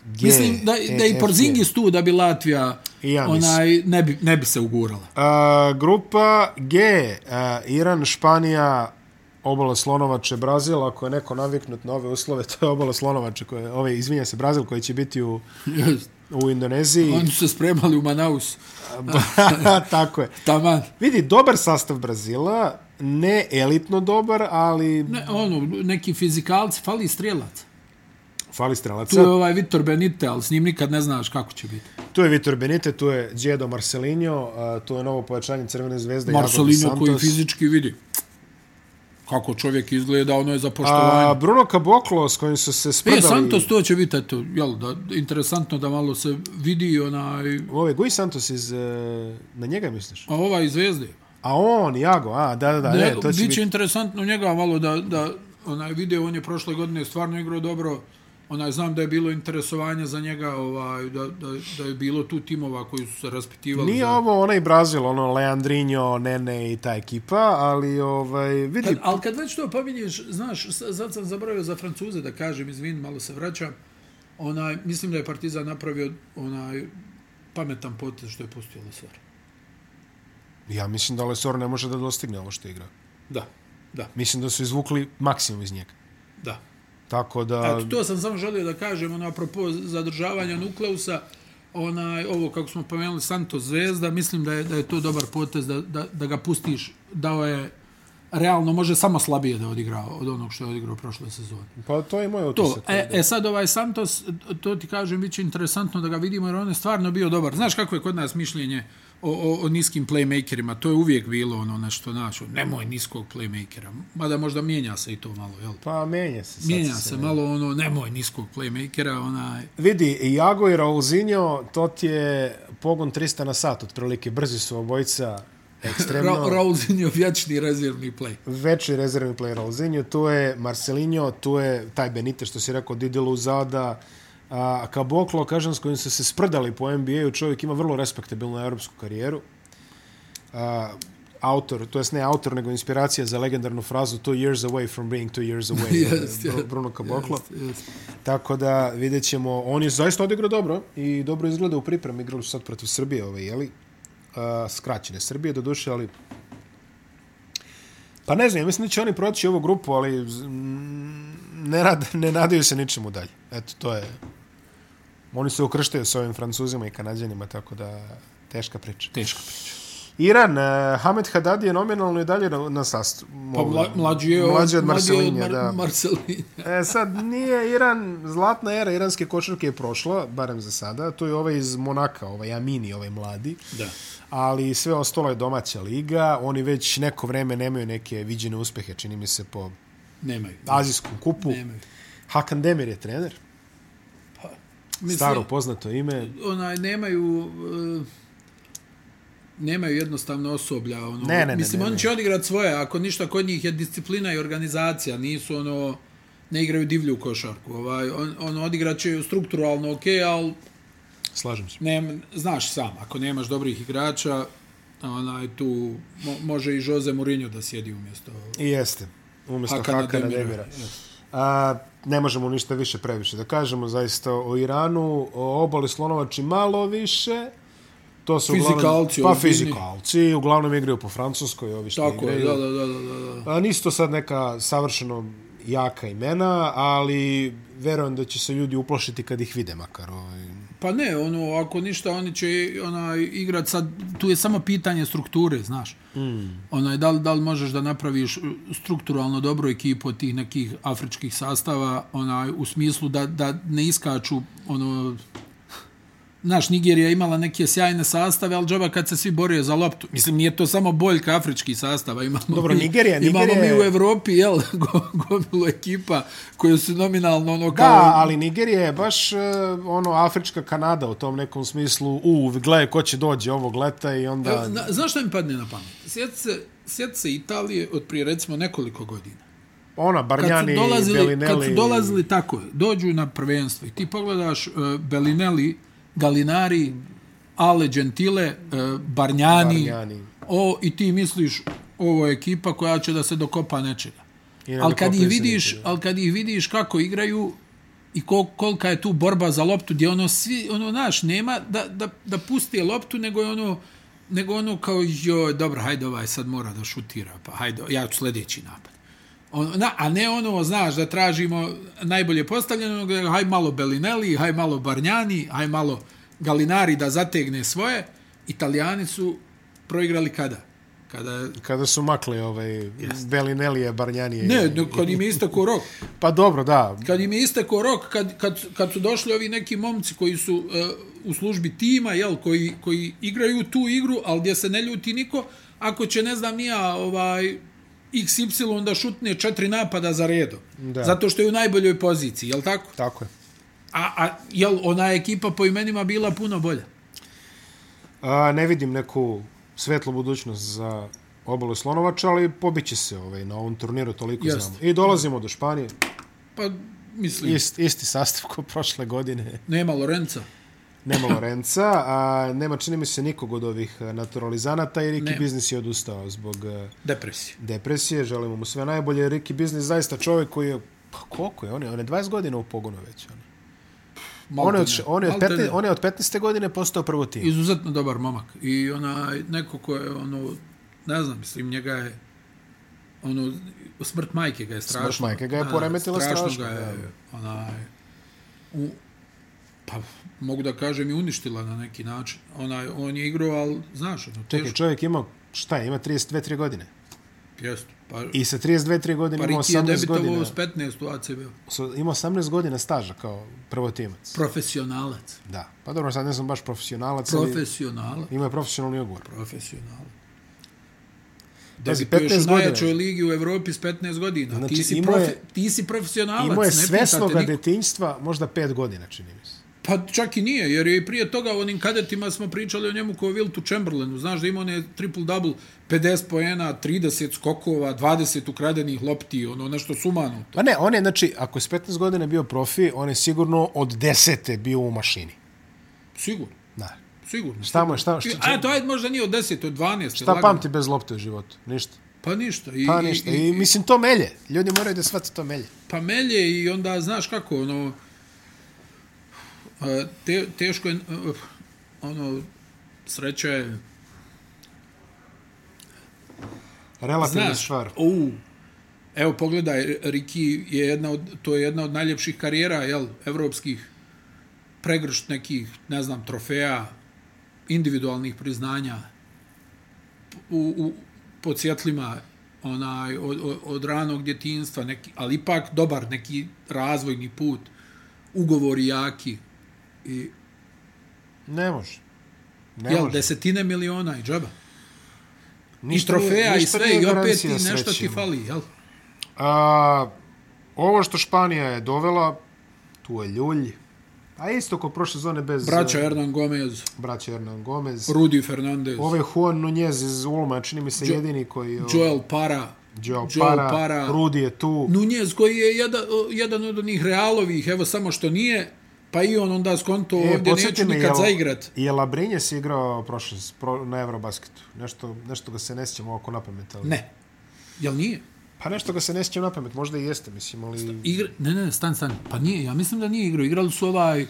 A: G,
B: Mislim da,
A: E,
B: da i
A: F, G.
B: Porzingis tu da bi Latvija
A: I ja mislim.
B: onaj, ne, bi, ne bi se ugurala.
A: A, grupa G, a, Iran, Španija, obala Slonovače, Brazil, ako je neko naviknut na ove uslove, to je obala Slonovače, koje, ove, izvinja se, Brazil koji će biti u, u Indoneziji.
B: Oni su se spremali u Manaus.
A: Tako je.
B: Taman.
A: Vidi, dobar sastav Brazila, ne elitno dobar, ali
B: Ne, ono, neki fizikalci, fali strelac.
A: fali strelaca.
B: Tu je ovaj Vitor Benite, ali s njim nikad ne znaš kako će biti.
A: Tu je Vitor Benite, tu je Djedo Marcelinho, a, tu je novo pojačanje Crvene zvezde.
B: Marcelino
A: Jagoda
B: koji
A: Santos.
B: fizički vidi kako čovjek izgleda, ono je za
A: A,
B: poštovanje.
A: Bruno Caboclo, s kojim su se
B: E,
A: sprdali...
B: Santos to će biti, eto, jel, da, interesantno da malo se vidi onaj,
A: Ove, Gui Santos iz... e, Na njega misliš?
B: a ova iz Zvezde.
A: A on, Jago, a, da, da, da, ne, to će
B: biće
A: biti...
B: interesantno njega malo da, da onaj video, on je prošle godine stvarno igrao dobro, onaj, znam da je bilo interesovanje za njega, ovaj, da, da, da je bilo tu timova koji su se raspitivali.
A: Nije
B: za...
A: ovo onaj Brazil, ono Leandrinho, Nene i ta ekipa, ali ovaj, vidi,
B: Kad, ali kad već to pominješ, znaš, sa- sad sam zaboravio za Francuze da kažem, izvin, malo se vraćam, onaj, mislim da je Partizan napravio onaj pametan potez što je pustio Lesor.
A: ja mislim da Lesor ne može da dostigne ovo što igra.
B: Da, da,
A: Mislim da su izvukli maksimum iz njega.
B: da.
A: Tako da...
B: Eto, to sam samo želio da kažem, ono, apropo zadržavanja Nukleusa, onaj, ovo kako smo pomenuli Santos Zvezda, mislim da je, da je to dobar potez da, da, da ga pustiš, dao je realno može samo slabije da odigra od onog što je odigrao prošle sezone.
A: Pa to je moj
B: To,
A: utisak.
B: e, e sad ovaj Santos, to ti kažem, bit će interesantno da ga vidimo jer on je stvarno bio dobar. Znaš kako je kod nas mišljenje o, o, o niskim playmakerima? To je uvijek bilo ono nešto našo. Nemoj niskog playmakera. Mada možda mijenja se i to malo, jel?
A: Pa menja se. sad
B: Mijenja se malo ono, nemoj niskog playmakera, onaj...
A: Vidi, i Jago i Raulzinho, to ti je pogon 300 na sat, otprilike. Brzi su obojica, ekstremno.
B: Ra Raulzin je vječni rezervni play.
A: Veći rezervni play Raulzinho, tu je Marcelinho, tu je taj Benite, što si rekao, Didi Luzada, a Kaboklo, kažem, s kojim su se sprdali po NBA-u, čovjek ima vrlo respektabilnu europsku karijeru. A, autor, to jest ne autor, nego inspiracija za legendarnu frazu two years away from being two years away.
B: Jest,
A: Bru-
B: jest,
A: Bruno Kaboklo.
B: Jest.
A: Tako da vidjet ćemo, on je zaista odigrao dobro i dobro izgleda u pripremi, igrali su sad protiv Srbije, ovaj, jeli? Uh, skraćene Srbije do duše, ali pa ne znam, ja mislim da će oni proći ovu grupu, ali z- mm, ne, rad, ne nadaju se ničemu dalje. Eto, to je oni se ukrštaju s ovim francuzima i kanadjanima, tako da teška priča.
B: Teško priča.
A: Iran, uh, Hamed Haddadi je nominalno i dalje na, na sastu.
B: Pa mla, mlađi je od,
A: mlađi od Marcelinja,
B: Mar
A: da.
B: Marcelinja.
A: E, sad, nije Iran, zlatna era iranske košarke je prošla, barem za sada. To je ovaj iz Monaka, ovaj Amini, ovaj mladi.
B: Da.
A: Ali sve ostalo je domaća liga. Oni već neko vreme nemaju neke viđene uspehe, čini mi se, po
B: Nemaju.
A: azijskom kupu.
B: Nemaju.
A: Hakan Demir je trener.
B: Mislim,
A: Staro poznato ime.
B: onaj nemaju e, nemaju jednostavno osoblja ono
A: Ne, ne, ne,
B: mislim
A: ne, ne.
B: oni će odigrati svoje ako ništa kod njih je disciplina i organizacija nisu ono ne igraju divlju košarku ovaj on, on odigraće strukturalno ok, ali
A: Slažem se.
B: ne, znaš sam ako nemaš dobrih igrača onaj tu mo, može i Jose Mourinho da sjedi umjesto ovaj.
A: I jeste. Umjesto
B: Hakana
A: Hakana, Hakana
B: Demira.
A: Demira. A, ne možemo ništa više previše da kažemo zaista o Iranu, o obali slonovači malo više. To su uglavnom-
B: Fizikalci,
A: pa
B: ozbiljni.
A: fizikalci, uglavnom igraju po francuskoj, ovi što
B: tako je
A: igraju.
B: da da da da da
A: A, nisu to sad neka savršeno jaka imena, ali verujem da će se ljudi uplašiti kad ih vide makar. Ovaj.
B: Pa ne, ono, ako ništa, oni će onaj, igrat sad, tu je samo pitanje strukture, znaš. Mm. Onaj, da, li, da li možeš da napraviš uh, strukturalno dobru ekipu od tih nekih afričkih sastava, onaj, u smislu da, da ne iskaču, ono, Znaš, Nigerija je imala neke sjajne sastave, ali džaba kad se svi borio za loptu. Mislim, nije to samo boljka afričkih sastava. Imamo
A: Dobro,
B: mi,
A: Nigerija-
B: imamo
A: Nigerija
B: mi u
A: je-
B: Evropi, jel, go- gomilu ekipa koje su nominalno ono kao...
A: Da, ali Nigerija je baš e, ono afrička Kanada u tom nekom smislu. U, gledaj ko će dođe ovog leta i onda...
B: Evo, E, na- Znaš što mi padne na pamet? Sjeti se, sjeti se Italije od prije recimo nekoliko godina.
A: Ona,
B: Kad su
A: Barnjani,
B: dolazili,
A: Belinelli...
B: kad su dolazili tako, je, dođu na prvenstvo i ti pogledaš uh, Belinelli, Galinari, Ale Gentile, uh, Barnjani,
A: Bargnani.
B: O, i ti misliš ovo je ekipa koja će da se dokopa nečega.
A: I ne
B: Ali kad,
A: dokopa
B: ih
A: se
B: vidiš,
A: nečega.
B: al kad ih vidiš kako igraju i kol, kolika je tu borba za loptu, gdje ono svi, ono, znaš, nema da, da, da pusti loptu, nego je ono, nego ono kao, joj, dobro, hajde ovaj sad mora da šutira, pa hajde, ja ću sljedeći napad. On, na, a ne ono, znaš, da tražimo najbolje postavljeno, nego haj malo Belinelli, haj malo Barnjani, haj malo Galinari da zategne svoje. Italijani su proigrali kada? Kada je...
A: Kada su makle ovaj, Belinelije, Barnjanije...
B: Ne, ne, kad im je istekao rok.
A: Pa dobro, da.
B: Kad im je istekao rok, kad, kad, kad su došli ovi neki momci koji su uh, u službi tima, jel, koji, koji igraju tu igru, ali gdje se ne ljuti niko, ako će, ne znam, nija, ovaj, XY da šutne četiri napada za redom.
A: Da.
B: Zato što je u najboljoj poziciji, jel tako?
A: Tako je.
B: A, a jel ona je ekipa po imenima bila puno bolja?
A: A, ne vidim neku svetlu budućnost za obalu Slonovača, ali pobiće se ovaj, na ovom turniru, toliko
B: Jeste.
A: Just. znamo. I dolazimo do Španije.
B: Pa, mislim,
A: Ist, isti sastav kao prošle godine.
B: nema Lorenca.
A: Nema Lorenca, a nema čini mi se nikog od ovih e, naturalizanata i Riki
B: Nema.
A: Biznis je odustao zbog e,
B: Depresija.
A: depresije. Želimo mu sve najbolje. Riki Biznis zaista čovjek koji je Pa koliko je? On je, on je 20 godina u pogonu već. On je, on je, od, š- on je, od, 15, on je od 15. godine postao prvo tim.
B: izuzetno dobar momak i onaj neko ko je ono ne znam mislim njega je ono smrt majke ga je strašno
A: majke ga je
B: da,
A: poremetila strašno,
B: strašno ga je onaj u, pa mogu da kažem i uništila na neki način onaj on je igrao al znaš ono
A: Čekaj,
B: teško
A: čovjek ima, šta je, ima 32-3 godine.
B: jeste pa
A: I sa 32-3 godine
B: Pa
A: ima
B: Riki je
A: 18
B: debitovao
A: godina.
B: s 15 u ACB.
A: So, ima 18 godina staža kao prvotimac.
B: Profesionalac.
A: Da. Pa dobro, sad ne znam baš profesionalac, ali
B: Profesionalac.
A: ima profesionalni ugovor.
B: Profesionalac.
A: Pazi,
B: Debituješ u
A: 15
B: najjačoj
A: godina.
B: ligi u Evropi s 15 godina.
A: Znači,
B: ti, si
A: imao
B: profe,
A: je-
B: ti si profesionalac.
A: Imao je
B: ne pita te
A: svesnoga
B: niko.
A: detinjstva možda 5 godina, čini mi se.
B: Pa čak i nije, jer je i prije toga u onim kadetima smo pričali o njemu kao Viltu Chamberlainu. Znaš da ima one triple-double, 50 poena, 30 skokova, 20 ukradenih lopti, ono nešto sumanuto.
A: Pa ne, on je, znači, ako je s 15 godina bio profi, on je sigurno od 10. bio u mašini.
B: Sigurno,
A: Da.
B: sigurno.
A: Šta mu je, šta, šta,
B: A to ajde možda nije od 10, od 12.
A: šta
B: lagano.
A: pamti bez lopte u životu? Ništa.
B: Pa ništa. I,
A: Pa ništa. I, mislim, to melje. Ljudi moraju da shvate to melje.
B: pa melje i onda znaš kako ono e, te, teško je e, ono sreća je
A: Relativna
B: znaš
A: Pa stvar.
B: ou evo pogledaj Riki je jedna od to je jedna od najljepših karijera jel evropskih pregršt nekih ne znam trofeja individualnih priznanja u, u po cjetlima onaj od, od, od ranog djetinjstva neki ali ipak dobar neki razvojni put ugovori jaki i
A: Ne može. Ne
B: jel
A: može.
B: desetine miliona i džaba i
A: Ništa nije-
B: trofeja i
A: ništa
B: sve
A: nije
B: i opet ti
A: garancija
B: nešto
A: sreće,
B: ti
A: ono.
B: fali jel
A: A, ovo što Španija je dovela, tu je Ljulj. A isto ko prošle zone bez...
B: braća
A: eh,
B: Hernan Gomez
A: braća Hernan Gomez.
B: Rudi Fernandez,
A: Ove Juan Nunez iz Ulma, čini mi se jedini koji je...
B: Joel Para,
A: Joel
B: Joel
A: Para,
B: Para.
A: Rudi je tu.
B: Nunez koji je jedan, jedan od onih realovih, evo samo što nije, pa i on onda skonto e, ovdje
A: podsjeti
B: neću
A: me,
B: nikad
A: jel-
B: zaigrat.
A: Je Labrinjes igrao prošle, pro, na Eurobasketu? Nešto, nešto ga se ne sjećam ovako na pamet. Ali.
B: Ne. Jel nije?
A: Pa nešto ga se ne sjećam na pamet, možda i jeste, mislim, ali...
B: Igra, ne, ne, stan, stan. Pa nije, ja mislim da nije igrao. Igrali su ovaj uh,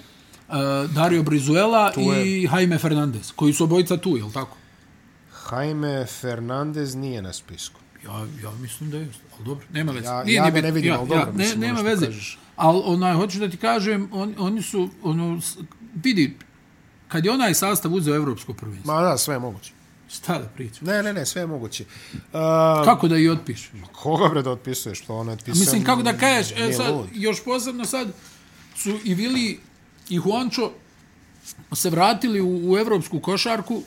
B: Dario Brizuela i Jaime Fernandez, koji su obojica tu, jel tako?
A: Jaime Fernandez nije na spisku.
B: Ja, ja mislim da jeste, ali dobro, nema veze.
A: Ja- ja ga ne vidim, ali dobro,
B: ne,
A: mislim, ono
B: nema
A: što
B: veze.
A: kažeš.
B: Ali onaj, hoću da ti kažem, on, oni su, ono, s- vidi, kad je onaj sastav uzeo evropsko prvenstvo,
A: Ma da, sve je moguće.
B: šta da pričam?
A: Ne, ne, ne, sve je moguće. Uh,
B: Kako da i otpišeš?
A: koga bre da otpisuješ? To ona otpisuje.
B: Mislim, kako da kažeš, e,
A: nije
B: sad,
A: lud.
B: još posebno sad su i Vili i Juancho se vratili u, u evropsku košarku,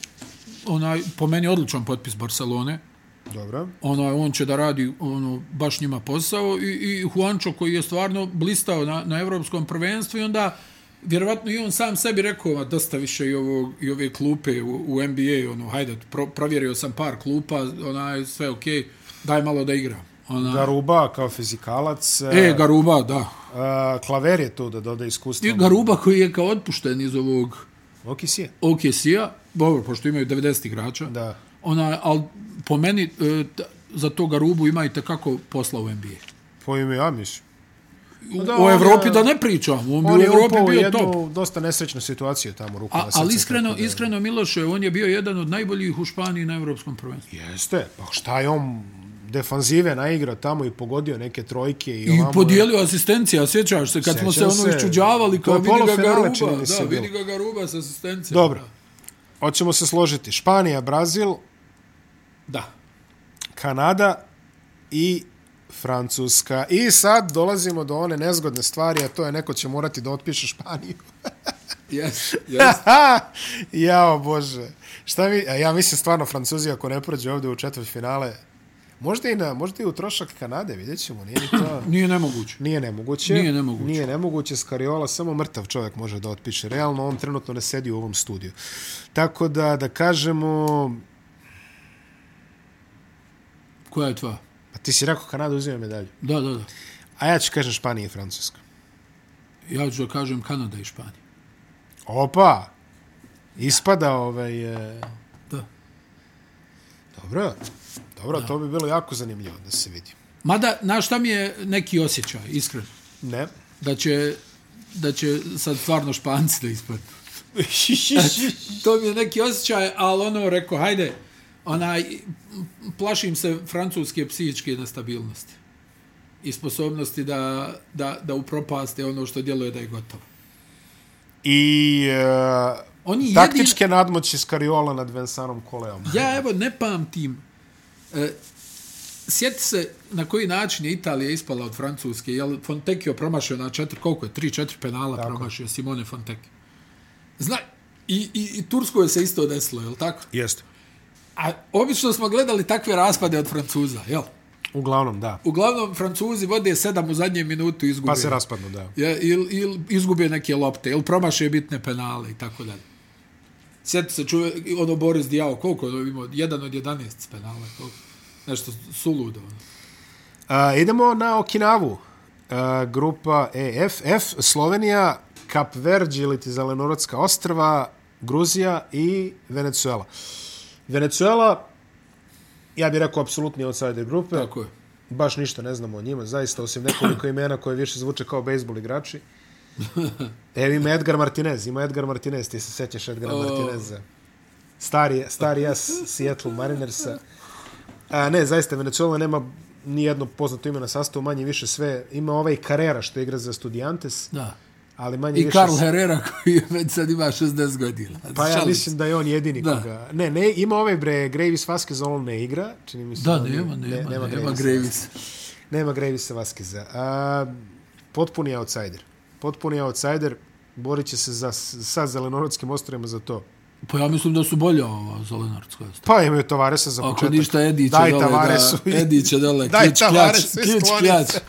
B: onaj, po meni odličan potpis Barcelone,
A: Dobro.
B: onaj, on će da radi ono, baš njima posao i, i Juancho koji je stvarno blistao na, na evropskom prvenstvu i onda vjerovatno i on sam sebi rekao "Ma, dosta više i, ovog, i ove klupe u, u NBA, ono, hajde, pro, provjerio sam par klupa, onaj, sve okej, okay, daj malo da igram. Ona,
A: Garuba kao fizikalac.
B: e, Garuba, da.
A: a, klaver je tu da doda iskustvo.
B: I Garuba koji je kao otpušten iz ovog
A: Okis je.
B: OKC-a, dobro, pošto imaju 90 igrača,
A: Da.
B: ona, ali po meni e, t- za toga rubu ima i tekako posla u NBA.
A: Po ime Amiš.
B: U,
A: Pa Da,
B: da, o
A: on
B: Evropi
A: je-
B: da ne pričam,
A: On
B: on, bi u
A: je
B: Evropi
A: upao u
B: bio
A: jednu
B: top.
A: dosta nesrećnu situaciju tamo ruku
B: A,
A: na srce.
B: ali iskreno,
A: tako da-
B: iskreno Miloše, on je bio jedan od najboljih u Španiji na evropskom prvenstvu.
A: Jeste, pa šta je on defanzive naigrao tamo i pogodio neke trojke i,
B: I
A: ovamo-
B: podijelio asistencija, sjećaš se, kad smo se
A: Sjećam
B: ono
A: se.
B: iščuđavali,
A: To
B: kao
A: je
B: vidi ga
A: polufinale,
B: Garuba,
A: čini mi
B: da,
A: se,
B: vidi
A: bilo.
B: ga Garuba sa asistencijom.
A: Dobro. Hoćemo se složiti. Španija, Brazil,
B: Da.
A: Kanada i Francuska. I sad dolazimo do one nezgodne stvari, a to je neko će morati da otpiše Španiju.
B: Yes, yes.
A: Jao Bože. Šta mi, a ja mislim stvarno Francuzi ako ne prođe ovdje u četvrt finale, možda i, na, možda i u trošak Kanade, vidjet ćemo, nije ni to...
B: Nije nemoguće.
A: Nije nemoguće.
B: Nije nemoguće.
A: Nije nemoguće. Skariola samo mrtav čovjek može da otpiše. Realno, on trenutno ne sedi u ovom studiju. Tako da, da kažemo...
B: Koja je tva?
A: Pa ti si rekao Kanada uzima medalju.
B: Da, da, da.
A: A ja ću kažem Španija i Francuska.
B: Ja ću da kažem Kanada i Španija.
A: Opa! Ispada ovaj... E...
B: Da.
A: Dobro. Dobro, to bi bilo jako zanimljivo da se vidi.
B: Mada, znaš šta mi je neki osjećaj, iskreno?
A: Ne.
B: Da će, da će sad stvarno španci da ispadnu. to mi je neki osjećaj, ali ono, rekao, hajde, onaj, plašim se francuske psihičke nestabilnosti i sposobnosti da, da, da upropaste ono što djeluje da je gotovo.
A: I... E...
B: Oni jedini-
A: Taktičke nadmoći Skariola nad Vensanom Koleom.
B: Ja evo ne pamtim. E, sjeti se na koji način je Italija ispala od Francuske. Jel Fontecchio promašio na četiri, koliko je? Tri, četiri penala Tako. promašio Simone Fontecchio. Zna, i, i, i Tursko je se isto desilo, jel tako?
A: Jeste.
B: A obično smo gledali takve raspade od Francuza, jel?
A: Uglavnom, da.
B: Uglavnom, Francuzi vode sedam u zadnjem minutu i izgube.
A: Pa se raspadnu, da.
B: Ja, ili, ili izgube neke lopte, ili promaše bitne penale i tako dalje. Sjeti se čuve, ono Boris Dijao, koliko je ono imao? Jedan od 11 penala, koliko? Nešto suludo. Ono.
A: Uh, idemo na Okinavu. Uh, grupa EF, F, Slovenija, Kap Verđi ili ti Zelenorodska ostrva, Gruzija i Venezuela. Venezuela, ja bih rekao, apsolutni outsider grupe.
B: Tako je.
A: Baš ništa ne znamo o njima, zaista, osim nekoliko imena koje više zvuče kao bejsbol igrači. Evo ima Edgar Martinez, ima Edgar Martinez, ti se sećaš Edgara oh. Martineza. Stari, stari jas Seattle Marinersa. A, ne, zaista, Venezuela nema ni jedno poznato ime na sastavu, manje više sve. Ima ovaj Carrera što igra za Studiantes,
B: Da.
A: ali manje
B: I
A: više...
B: Karl Herrera koji je već sad ima 60 godina.
A: Pa ja
B: Šalim se.
A: mislim da je on jedini
B: Da.
A: da. koga... Ne, ne, ima ovaj bre, Gravis Vasquez, on ne igra, čini mi se.
B: Da,
A: on-
B: nema, nema, nema, nema
A: Gravisa.
B: Gravis.
A: Nema Gravisa Vaskeza. A, potpuni outsider. Potpuni outsider. Borit će se za, sa zelenoradskim ostrovima za to.
B: Pa ja mislim da su bolje ova Zelenartska.
A: Pa imaju Tavaresa za
B: Ako
A: početak.
B: ništa, Edi će
A: Daj
B: dole.
A: Tavaresu.
B: Da, Edi će dole.
A: Daj
B: kič, kljač,
A: Tavaresu i
B: kič,
A: skloni
B: kljač.
A: se.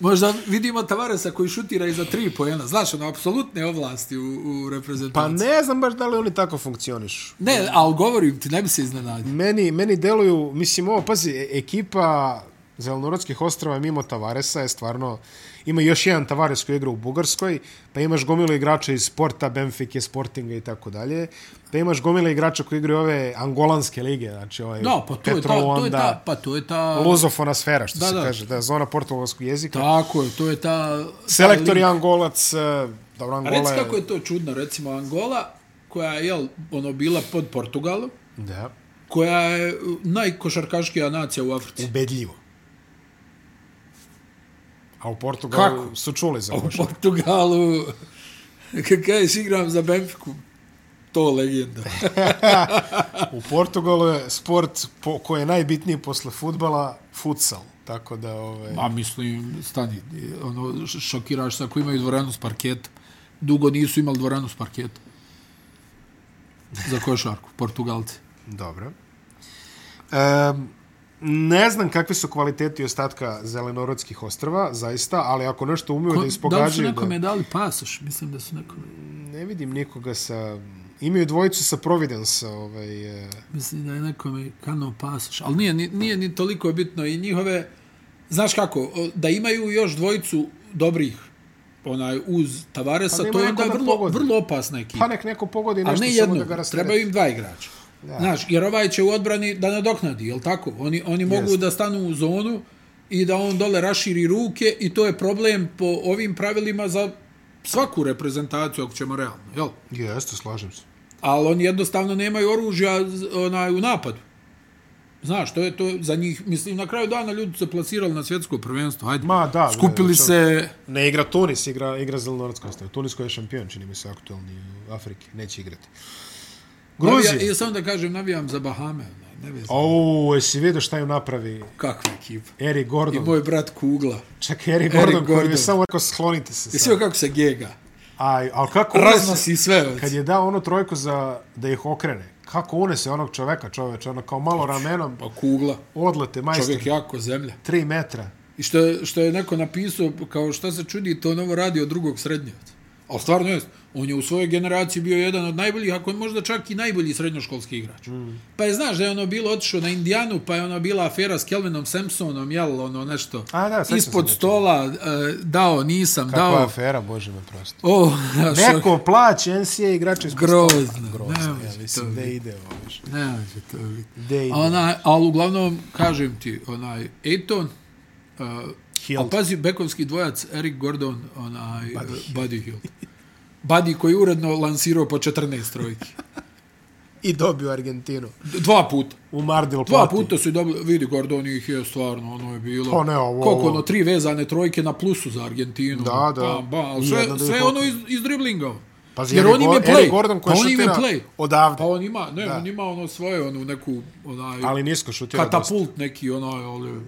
B: Možda vidimo Tavaresa koji šutira i za tri pojena. Znaš, ono, apsolutne ovlasti u, u
A: Pa
B: reprezentaciji.
A: ne znam baš da li oni tako funkcionišu.
B: Ne, ali govorim ti, ne bi se iznenadio.
A: Meni, meni deluju, mislim ovo, pazi, e- ekipa Zelenorodskih ostrava mimo Tavaresa je stvarno, ima još jedan Tavares koji igra u Bugarskoj, pa imaš gomilu igrača iz Sporta, Benfike, Sportinga i tako dalje, pa imaš gomilu igrača koji igraju ove angolanske lige, znači ovaj
B: No, pa to je ta, to je ta, pa to je ta...
A: luzofona sfera, što
B: Da,
A: da, se
B: da.
A: da. kaže, da, zona portugalskog jezika. Da.
B: Tako je, to je ta... ta
A: Selektor je
B: liga.
A: angolac, e, dobro,
B: A
A: Angola
B: Reci kako je to čudno, recimo Angola, koja je, jel, ono, bila pod Portugalom,
A: Da,
B: koja je uh, najkošarkaškija nacija u Africi.
A: ubedljivo. A u Portugalu
B: Kako?
A: su čuli za
B: U
A: košarku.
B: Portugalu, kad kažeš igram za Benfiku, to legenda.
A: U Portugalu je sport po, koji je najbitniji posle futbala futsal. Tako da, ovaj. ove,
B: A mislim, stani, ono, š- šokiraš se ako imaju dvoranu s parketom. Dugo nisu imali dvoranu s parketom. za košarku, Portugalci.
A: Dobro. Um, ne znam kakvi su kvaliteti ostatka zelenorodskih ostrava, zaista, ali ako nešto umiju da
B: Ko, da li su
A: ispogađaju...
B: nekome dali pasoš? Mislim da su nekome...
A: Ne vidim nikoga sa... Imaju dvojicu sa Providence, ovaj... eh,
B: Mislim da je nekome kano pasoš. Ali nije, ni- nije ni toliko bitno i njihove... Znaš kako, o, da imaju još dvojicu dobrih onaj uz
A: Pa
B: Tavaresa,
A: nema
B: to je
A: neko
B: onda
A: da
B: vrlo,
A: pogodi.
B: vrlo opasna ekipa.
A: Pa nek neko pogodi
B: A
A: nešto
B: ne
A: samo
B: jedno,
A: da ga rastereti.
B: trebaju im dva igrača. Da. Znaš, jer ovaj će u odbrani da nadoknadi, jel tako? Oni, oni mogu
A: Jeste.
B: da stanu u zonu i da on dole raširi ruke i to je problem po ovim pravilima za svaku reprezentaciju, ako ćemo realno, jel?
A: Jeste, slažem se.
B: Ali oni jednostavno nemaju oružja z- onaj, u napadu. Znaš, to je to za njih, mislim, na kraju dana ljudi se plasirali na svjetsko prvenstvo, hajde.
A: Ma, da, gledaj,
B: Skupili se,
A: Ne igra Tunis, igra, igra zelenorodska ostrava. Tunis koji je šampion, čini mi se, aktualni u Afriki. Neće igrati. Gruzija.
B: navija, ja samo da kažem, navijam za Bahame, onaj, ne vezam.
A: Au, jesi vidio šta im napravi
B: Kakva ekipa.
A: Eri
B: I
A: Gordon?
B: moj brat Kugla.
A: Čak Eri Gordon, koji
B: Gordon.
A: je samo rekao sklonite se.
B: Jesi
A: Sad.
B: vidio kako se gega?
A: Aj, ali kako one se,
B: Raznosi sve.
A: kad je dao onu trojku za, da ih okrene, kako une se onog čoveka, čoveče, ono kao malo ramenom,
B: Pa kugla.
A: odlete, majster,
B: Čovjek jako zemlja.
A: 3 metra.
B: I što je, što je neko napisao, kao šta se čudi, to novo radi od drugog srednjevca. Ali stvarno jest. On je u svojoj generaciji bio jedan od najboljih, ako je možda čak i najbolji srednjoškolski igrač. Mm. Pa je, znaš, da je ono bilo otišao na Indijanu, pa je ono bila afera s Kelvinom Sampsonom, jel, ono nešto.
A: A, da, sećam se
B: Ispod
A: da je to.
B: stola, e, dao, nisam,
A: Kakva
B: dao.
A: afera, bože me prosto.
B: O, znaš,
A: Neko plaće NCAA igrača iz
B: Grozno,
A: Grozno,
B: nemoj
A: ja
B: to
A: mislim, gde
B: biti.
A: ide ovo više.
B: ne može to biti.
A: Gde ide?
B: A ono- Onaj, ali uglavnom, kažem ti, onaj, Ejton, uh,
A: Hill.
B: a pazi, bekovski dvojac, Eric Gordon, onaj, Buddy, uh, Buddy Hill. Buddy koji je uredno lansirao po 14 trojki.
A: I dobio Argentinu.
B: Dva puta.
A: U Mardil
B: Dva
A: plati.
B: puta su i dobili, vidi, Gordon ih je stvarno, ono je bilo.
A: Pa ne, ovo-
B: Koliko,
A: ovo-
B: ono, tri vezane trojke na plusu za Argentinu.
A: Da, da.
B: Ba, ba, ali
A: I
B: sve,
A: jedna da ih
B: sve ono
A: otme.
B: iz, iz driblingao.
A: Pazi,
B: Jer
A: Eric
B: on im je
A: Gor-
B: play.
A: Eric Gordon koji
B: pa on im je
A: šutira
B: play.
A: Odavde.
B: Pa on ima, ne,
A: Da.
B: on ima ono svoje, ono, neku, onaj...
A: Ali nisko šutira dosta.
B: katapult neki onaj ali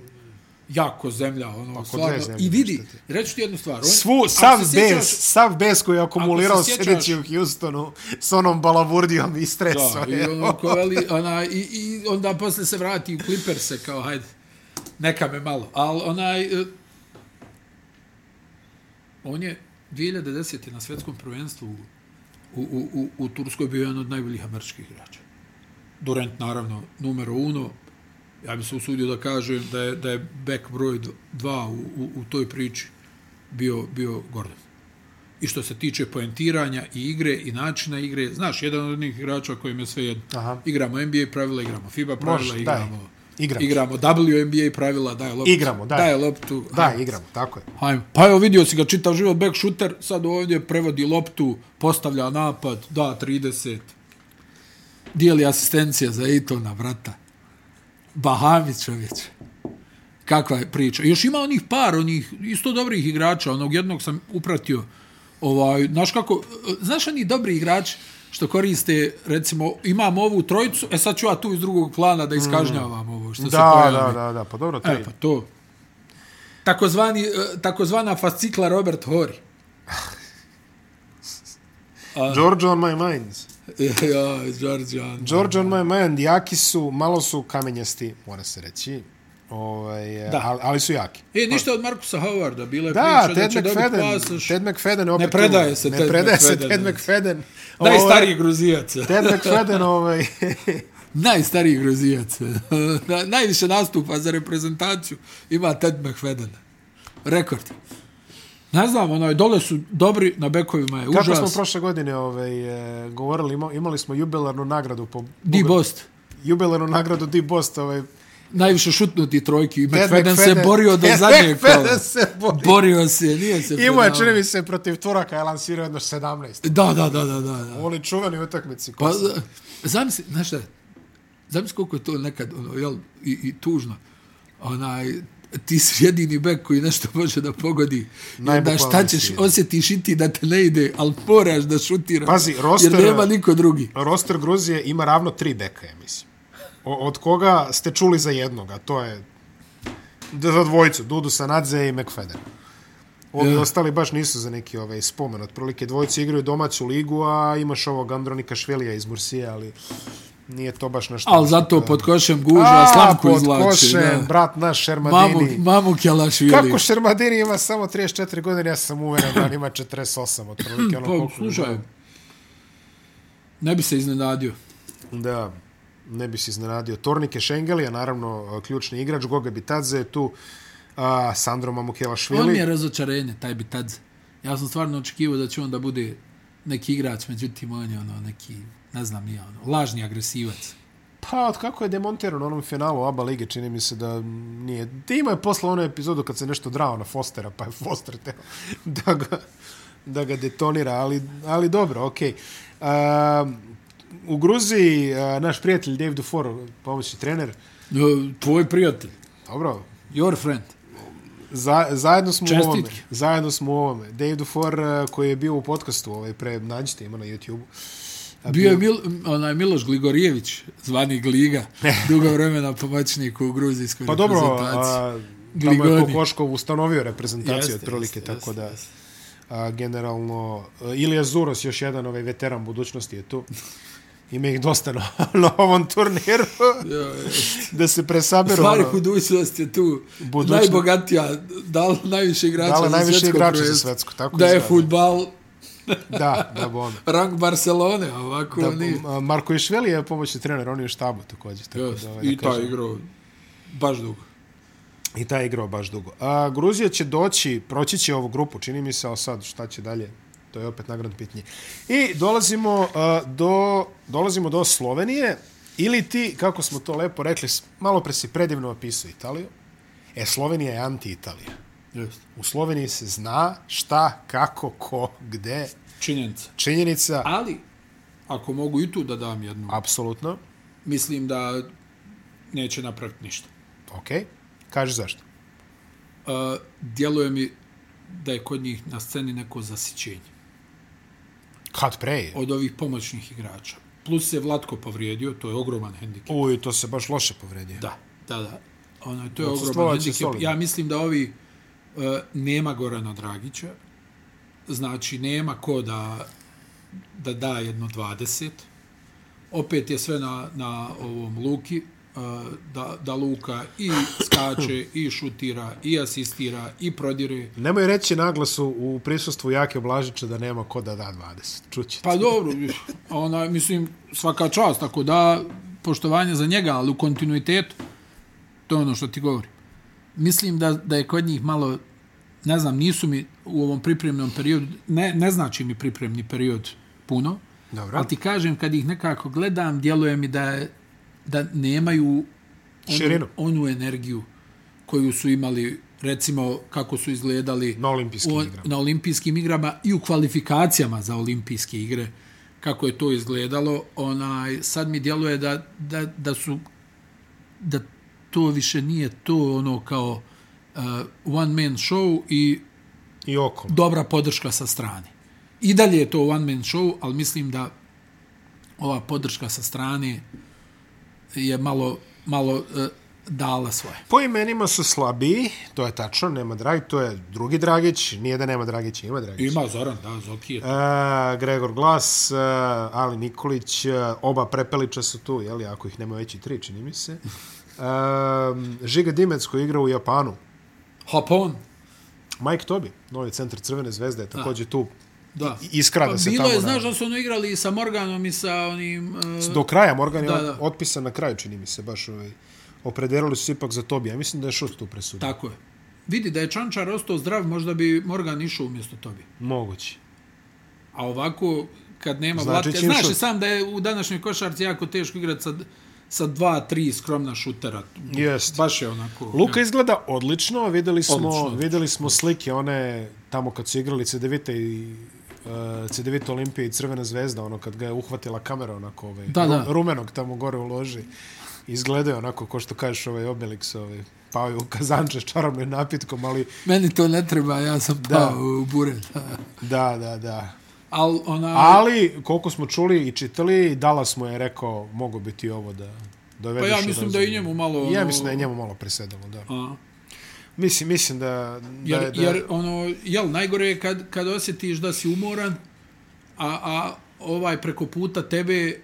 B: jako zemlja ono pa,
A: dve
B: stvarno
A: zemlje,
B: i vidi
A: šta
B: reći ti jednu stvar on,
A: Svu,
B: ako
A: sav
B: se sjećaš-
A: bes, sav bes koji je akumulirao
B: Ako se sjećaš-
A: sedeći u Houstonu s onom balavurdijom i stresom.
B: da, i
A: evo.
B: ono ko veli ona, i, i onda posle se vrati u Clippers-e kao hajde neka me malo ali onaj eh, on je 2010. na svjetskom prvenstvu u, u, u, u, u Turskoj bio jedan od najboljih američkih igrača Durant naravno numero uno ja bi se usudio da kažem da je, da je back broj 2 u, u, u toj priči bio, bio Gordon. I što se tiče poentiranja i igre i načina igre, znaš, jedan od onih igrača kojim je sve jedno.
A: Aha.
B: Igramo NBA pravila, igramo FIBA
A: Može,
B: pravila,
A: daj.
B: igramo,
A: Igramo.
B: igramo WNBA pravila, daj loptu.
A: Igramo, daj.
B: Daj loptu.
A: Da,
B: hajmo.
A: igramo, tako je.
B: Hajmo. Pa evo vidio si ga čitav život back shooter, sad ovdje prevodi loptu, postavlja napad, da 30. Dijeli asistencija za Ejtona, vrata. Bahamić čovječ. Kakva je priča. Još ima onih par, onih isto dobrih igrača, onog jednog sam upratio. Ovaj, znaš kako, e, znaš oni dobri igrači što koriste, recimo, imam ovu trojicu, e sad ću ja tu iz drugog plana da iskažnjavam ovo što se
A: Mm. Da,
B: pojavi.
A: da, da, da, pa dobro, to
B: E,
A: je.
B: pa to. Takozvani, eh, takozvana fascikla Robert Hori. pa-
A: George on my mind.
B: ja, Đorđan.
A: George on my mind, jaki su, malo su kamenjasti, mora se reći. Ovaj,
B: Da.
A: ali, ali su jaki.
B: E, ništa od Markusa Howarda. Bila je
A: Da,
B: priča
A: Ted
B: da će dobiti
A: McFadden,
B: pasoš.
A: Ted McFadden je opet
B: Ne predaje
A: tu.
B: se
A: ne
B: Ted
A: predaje se
B: McFadden. znači.
A: Ted McFadden. Ovo je-
B: Najstariji gruzijac.
A: Ted McFadden, ovaj,
B: Najstariji gruzijac. Na, najviše nastupa za reprezentaciju ima Ted McFadden. Rekord. Ne znam, onaj, dole su dobri, na bekovima je
A: kako smo
B: užas.
A: prošle godine ovaj, e, govorili, ima- imali smo jubilarnu nagradu po
B: Di Bost.
A: jubilarnu nagradu Di Bost, ovaj,
B: Najviše šutnuti trojki. I
A: Ted
B: McFadden se
A: McFadden-
B: borio do
A: Ted
B: zadnjeg kola.
A: McFadden se borio.
B: Borio se, nije se
A: Imao je,
B: predavao.
A: čini mi se, protiv Turaka je lansirao jedno 17.
B: Da, da, da, da, da. da.
A: Oni čuveni utakmici.
B: Pa,
A: Pa,
B: zamisli, znaš šta, zamisli koliko je to nekad, ono, jel, i, i tužno. Onaj, ti si jedini bek koji nešto može da pogodi. I onda
A: Najbukvalnije
B: šta ćeš,
A: si jedini.
B: osjetiš i ti da te ne ide, ali moraš da šutiraš.
A: Pazi, roster-
B: Jer nema niko drugi.
A: Roster Gruzije ima ravno tri beka, ja mislim. O, od koga ste čuli za jednoga, to je d- za dvojicu, Dudu Sanadze i McFadden. Ovi yeah. ostali baš nisu za neki ovaj spomen. Otprilike dvojci igraju domaću ligu, a imaš ovog Andronika Švelija iz Mursije, ali nije to baš nešto.
B: Ali zato pod košem guža,
A: A,
B: slamku
A: pod
B: izlači.
A: košem,
B: da.
A: brat naš
B: Mamu,
A: Šermadini.
B: mamu Kjelašvili.
A: Kako Šermadini ima samo 34 godine, ja sam uveren da on ima 48, otprilike ono
B: Pa,
A: koliko...
B: slušaj, ne bi se iznenadio.
A: Da, ne bi se iznenadio. Tornike Šengelija, naravno, ključni igrač, Goga Bitadze je tu, a, Sandro Mamukelašvili.
B: On mi je razočarenje, taj Bitadze. Ja sam stvarno očekivao da će on da bude neki igrač, međutim on je ono neki, ne znam nije ono, lažni agresivac.
A: Pa, od kako je demontiran u onom finalu ABA lige, čini mi se da nije. Dima je poslao onu epizodu kad se nešto drao na Fostera, pa je Foster teo da ga, da ga detonira, ali, ali dobro, okej. Okay. u Gruziji a, naš prijatelj Dave Dufour, pomoćni trener,
B: E, Tvoj prijatelj,
A: dobro,
B: your friend.
A: Za, zajedno smo u ovome.
B: Čestitke.
A: Zajedno smo u ovome. Dave Dufour a, koji je bio u podcastu ovaj, pre, nađite ima na YouTube-u. A
B: Bio je Mil, onaj Miloš Gligorijević, zvani Gliga, dugo vremena pomoćnik u gruzijskoj
A: Pa dobro, a,
B: reprezentaciji.
A: tamo je
B: Gligoni.
A: Kokoškov ustanovio reprezentaciju
B: Jeste,
A: otprilike,
B: jeste,
A: tako
B: jeste,
A: da
B: jeste.
A: a, generalno a, Ilija Zuros, još jedan ovaj veteran budućnosti je tu. Ima ih dosta na, na ovom turniru
B: Ja,
A: da se presaberu.
B: Stvari
A: ono,
B: budućnost je tu
A: Budućnost.
B: najbogatija, dala najviše igrača
A: Dala
B: za
A: najviše
B: svjetsko
A: igrača za
B: prvenstvo.
A: svetsko, tako
B: Da je
A: izgleda.
B: futbal
A: Da, da bom.
B: rang Barcelone, a ovako da, nije.
A: Da, a, Marko Išveli je pomoćni trener, on je u štabu također. Tako
B: Jest,
A: da, ovaj, da
B: I ta
A: kažem.
B: igrao baš dugo.
A: I taj je igrao baš dugo. A, Gruzija će doći, proći će ovu grupu, čini mi se, ali sad šta će dalje, to je opet nagradno pitanje. I dolazimo, a, do, dolazimo do Slovenije, ili ti, kako smo to lepo rekli, s- malo pre si predivno opisao Italiju, e, Slovenija je anti-Italija.
B: Jeste.
A: U Sloveniji se zna šta, kako, ko, gde,
B: Činjenica.
A: činjenica,
B: Ali, ako mogu i tu da dam jednu,
A: apsolutno,
B: mislim da neće napraviti ništa. E,
A: ok, kaži zašto.
B: Uh, djeluje mi da je kod njih na sceni neko zasićenje
A: Kad pre?
B: od ovih pomoćnih igrača. Plus se Vlatko povrijedio, to je ogroman hendikep.
A: Uj, to se baš loše povredio.
B: Da, da, da. Ono, to je
A: Odsustvovao
B: ogroman
A: će
B: hendikep.
A: solidno.
B: Ja mislim da ovi uh, nema Gorana Dragića, znači nema ko da, da da jedno 20. Opet je sve na, na ovom Luki, uh, da, da Luka i skače, i šutira, i asistira, i prodire.
A: Nemoj reći naglasu u prisustvu Jake Blažića da nema ko da da 20. Čući.
B: Pa dobro, ona, mislim, svaka čast, tako da, poštovanje za njega, ali u kontinuitetu, to je ono što ti govorim. Mislim da, da je kod njih malo, ne znam, nisu mi u ovom pripremnom periodu, ne, ne znači mi pripremni period puno,
A: Dobro.
B: ali ti kažem, kad ih nekako gledam, djeluje mi da, je- da nemaju
A: Širinu.
B: onu energiju koju su imali, recimo, kako su izgledali
A: Na olimpijskim
B: u-
A: igrama.
B: na olimpijskim igrama i u kvalifikacijama za olimpijske igre, kako je to izgledalo. Onaj, sad mi djeluje da, da, da su da to više nije to ono kao uh, one man show i
A: I okolo.
B: dobra podrška sa strane. I dalje je to one man show, ali mislim da ova podrška sa strane je malo, malo e, dala svoje.
A: Po imenima su slabiji, to je tačno, nema Dragić, to je drugi Dragić, nije da nema Dragića, ima Dragić.
B: Ima Zoran, da, Zoki je.
A: E, Gregor Glas, e, Ali Nikolić, e, oba Prepelića su tu, jeli, ako ih nema veći tri, čini mi se. E, Žiga Dimec koji igra u Japanu,
B: Hopon,
A: Mike Tobi, novi centar Crvene zvezde, je također tu.
B: da.
A: Iskra da
B: Pa
A: se
B: bilo
A: tamo...
B: je,
A: na-
B: znaš da su ono igrali i sa Morganom i sa onim... e,
A: Do kraja Morgan je
B: Da, da.
A: otpisan na kraju, čini mi se, baš ovaj, opredelili su se ipak za Tobija. Mislim da je šut tu presudio.
B: tako je. Vidi da je Čančar ostao zdrav, možda bi Morgan išao umjesto tobi.
A: Moguće.
B: A ovako, kad nema
A: Znači,
B: Vlatka...
A: čim
B: Znaš i
A: šut.
B: sam da je u današnjoj košarci jako teško igrati sa, sa dva, tri skromna šutera.
A: Jest.
B: Baš je onako...
A: Luka izgleda odlično, videli smo,
B: Odlično,
A: odlično,
B: odlično.
A: videli smo slike one tamo kad su igrali CDVita i uh, CDVita Olimpije i Crvena zvezda, ono kad ga je uhvatila kamera onako ovaj,
B: Da,
A: ru-
B: da.
A: rumenog tamo gore u loži. Izgledaju onako, ko što kažeš, ovaj Obelix, ovaj, pao je u kazanče s čarobnim napitkom, ali
B: Meni to ne treba, ja sam pao u bure.
A: da, da, da.
B: Al, ona,
A: Ali, koliko smo čuli i čitali, Dallas mu je rekao, mogo bi ti ovo da dovedeš.
B: pa ja
A: u
B: mislim
A: razum.
B: da i njemu malo...
A: Ja
B: ono,
A: mislim da je njemu malo presedalo, da.
B: A,
A: Mislim, mislim da... da,
B: Jer,
A: da
B: jer ono, jel, najgore je kad, kad osjetiš da si umoran, a, a ovaj preko puta tebe e,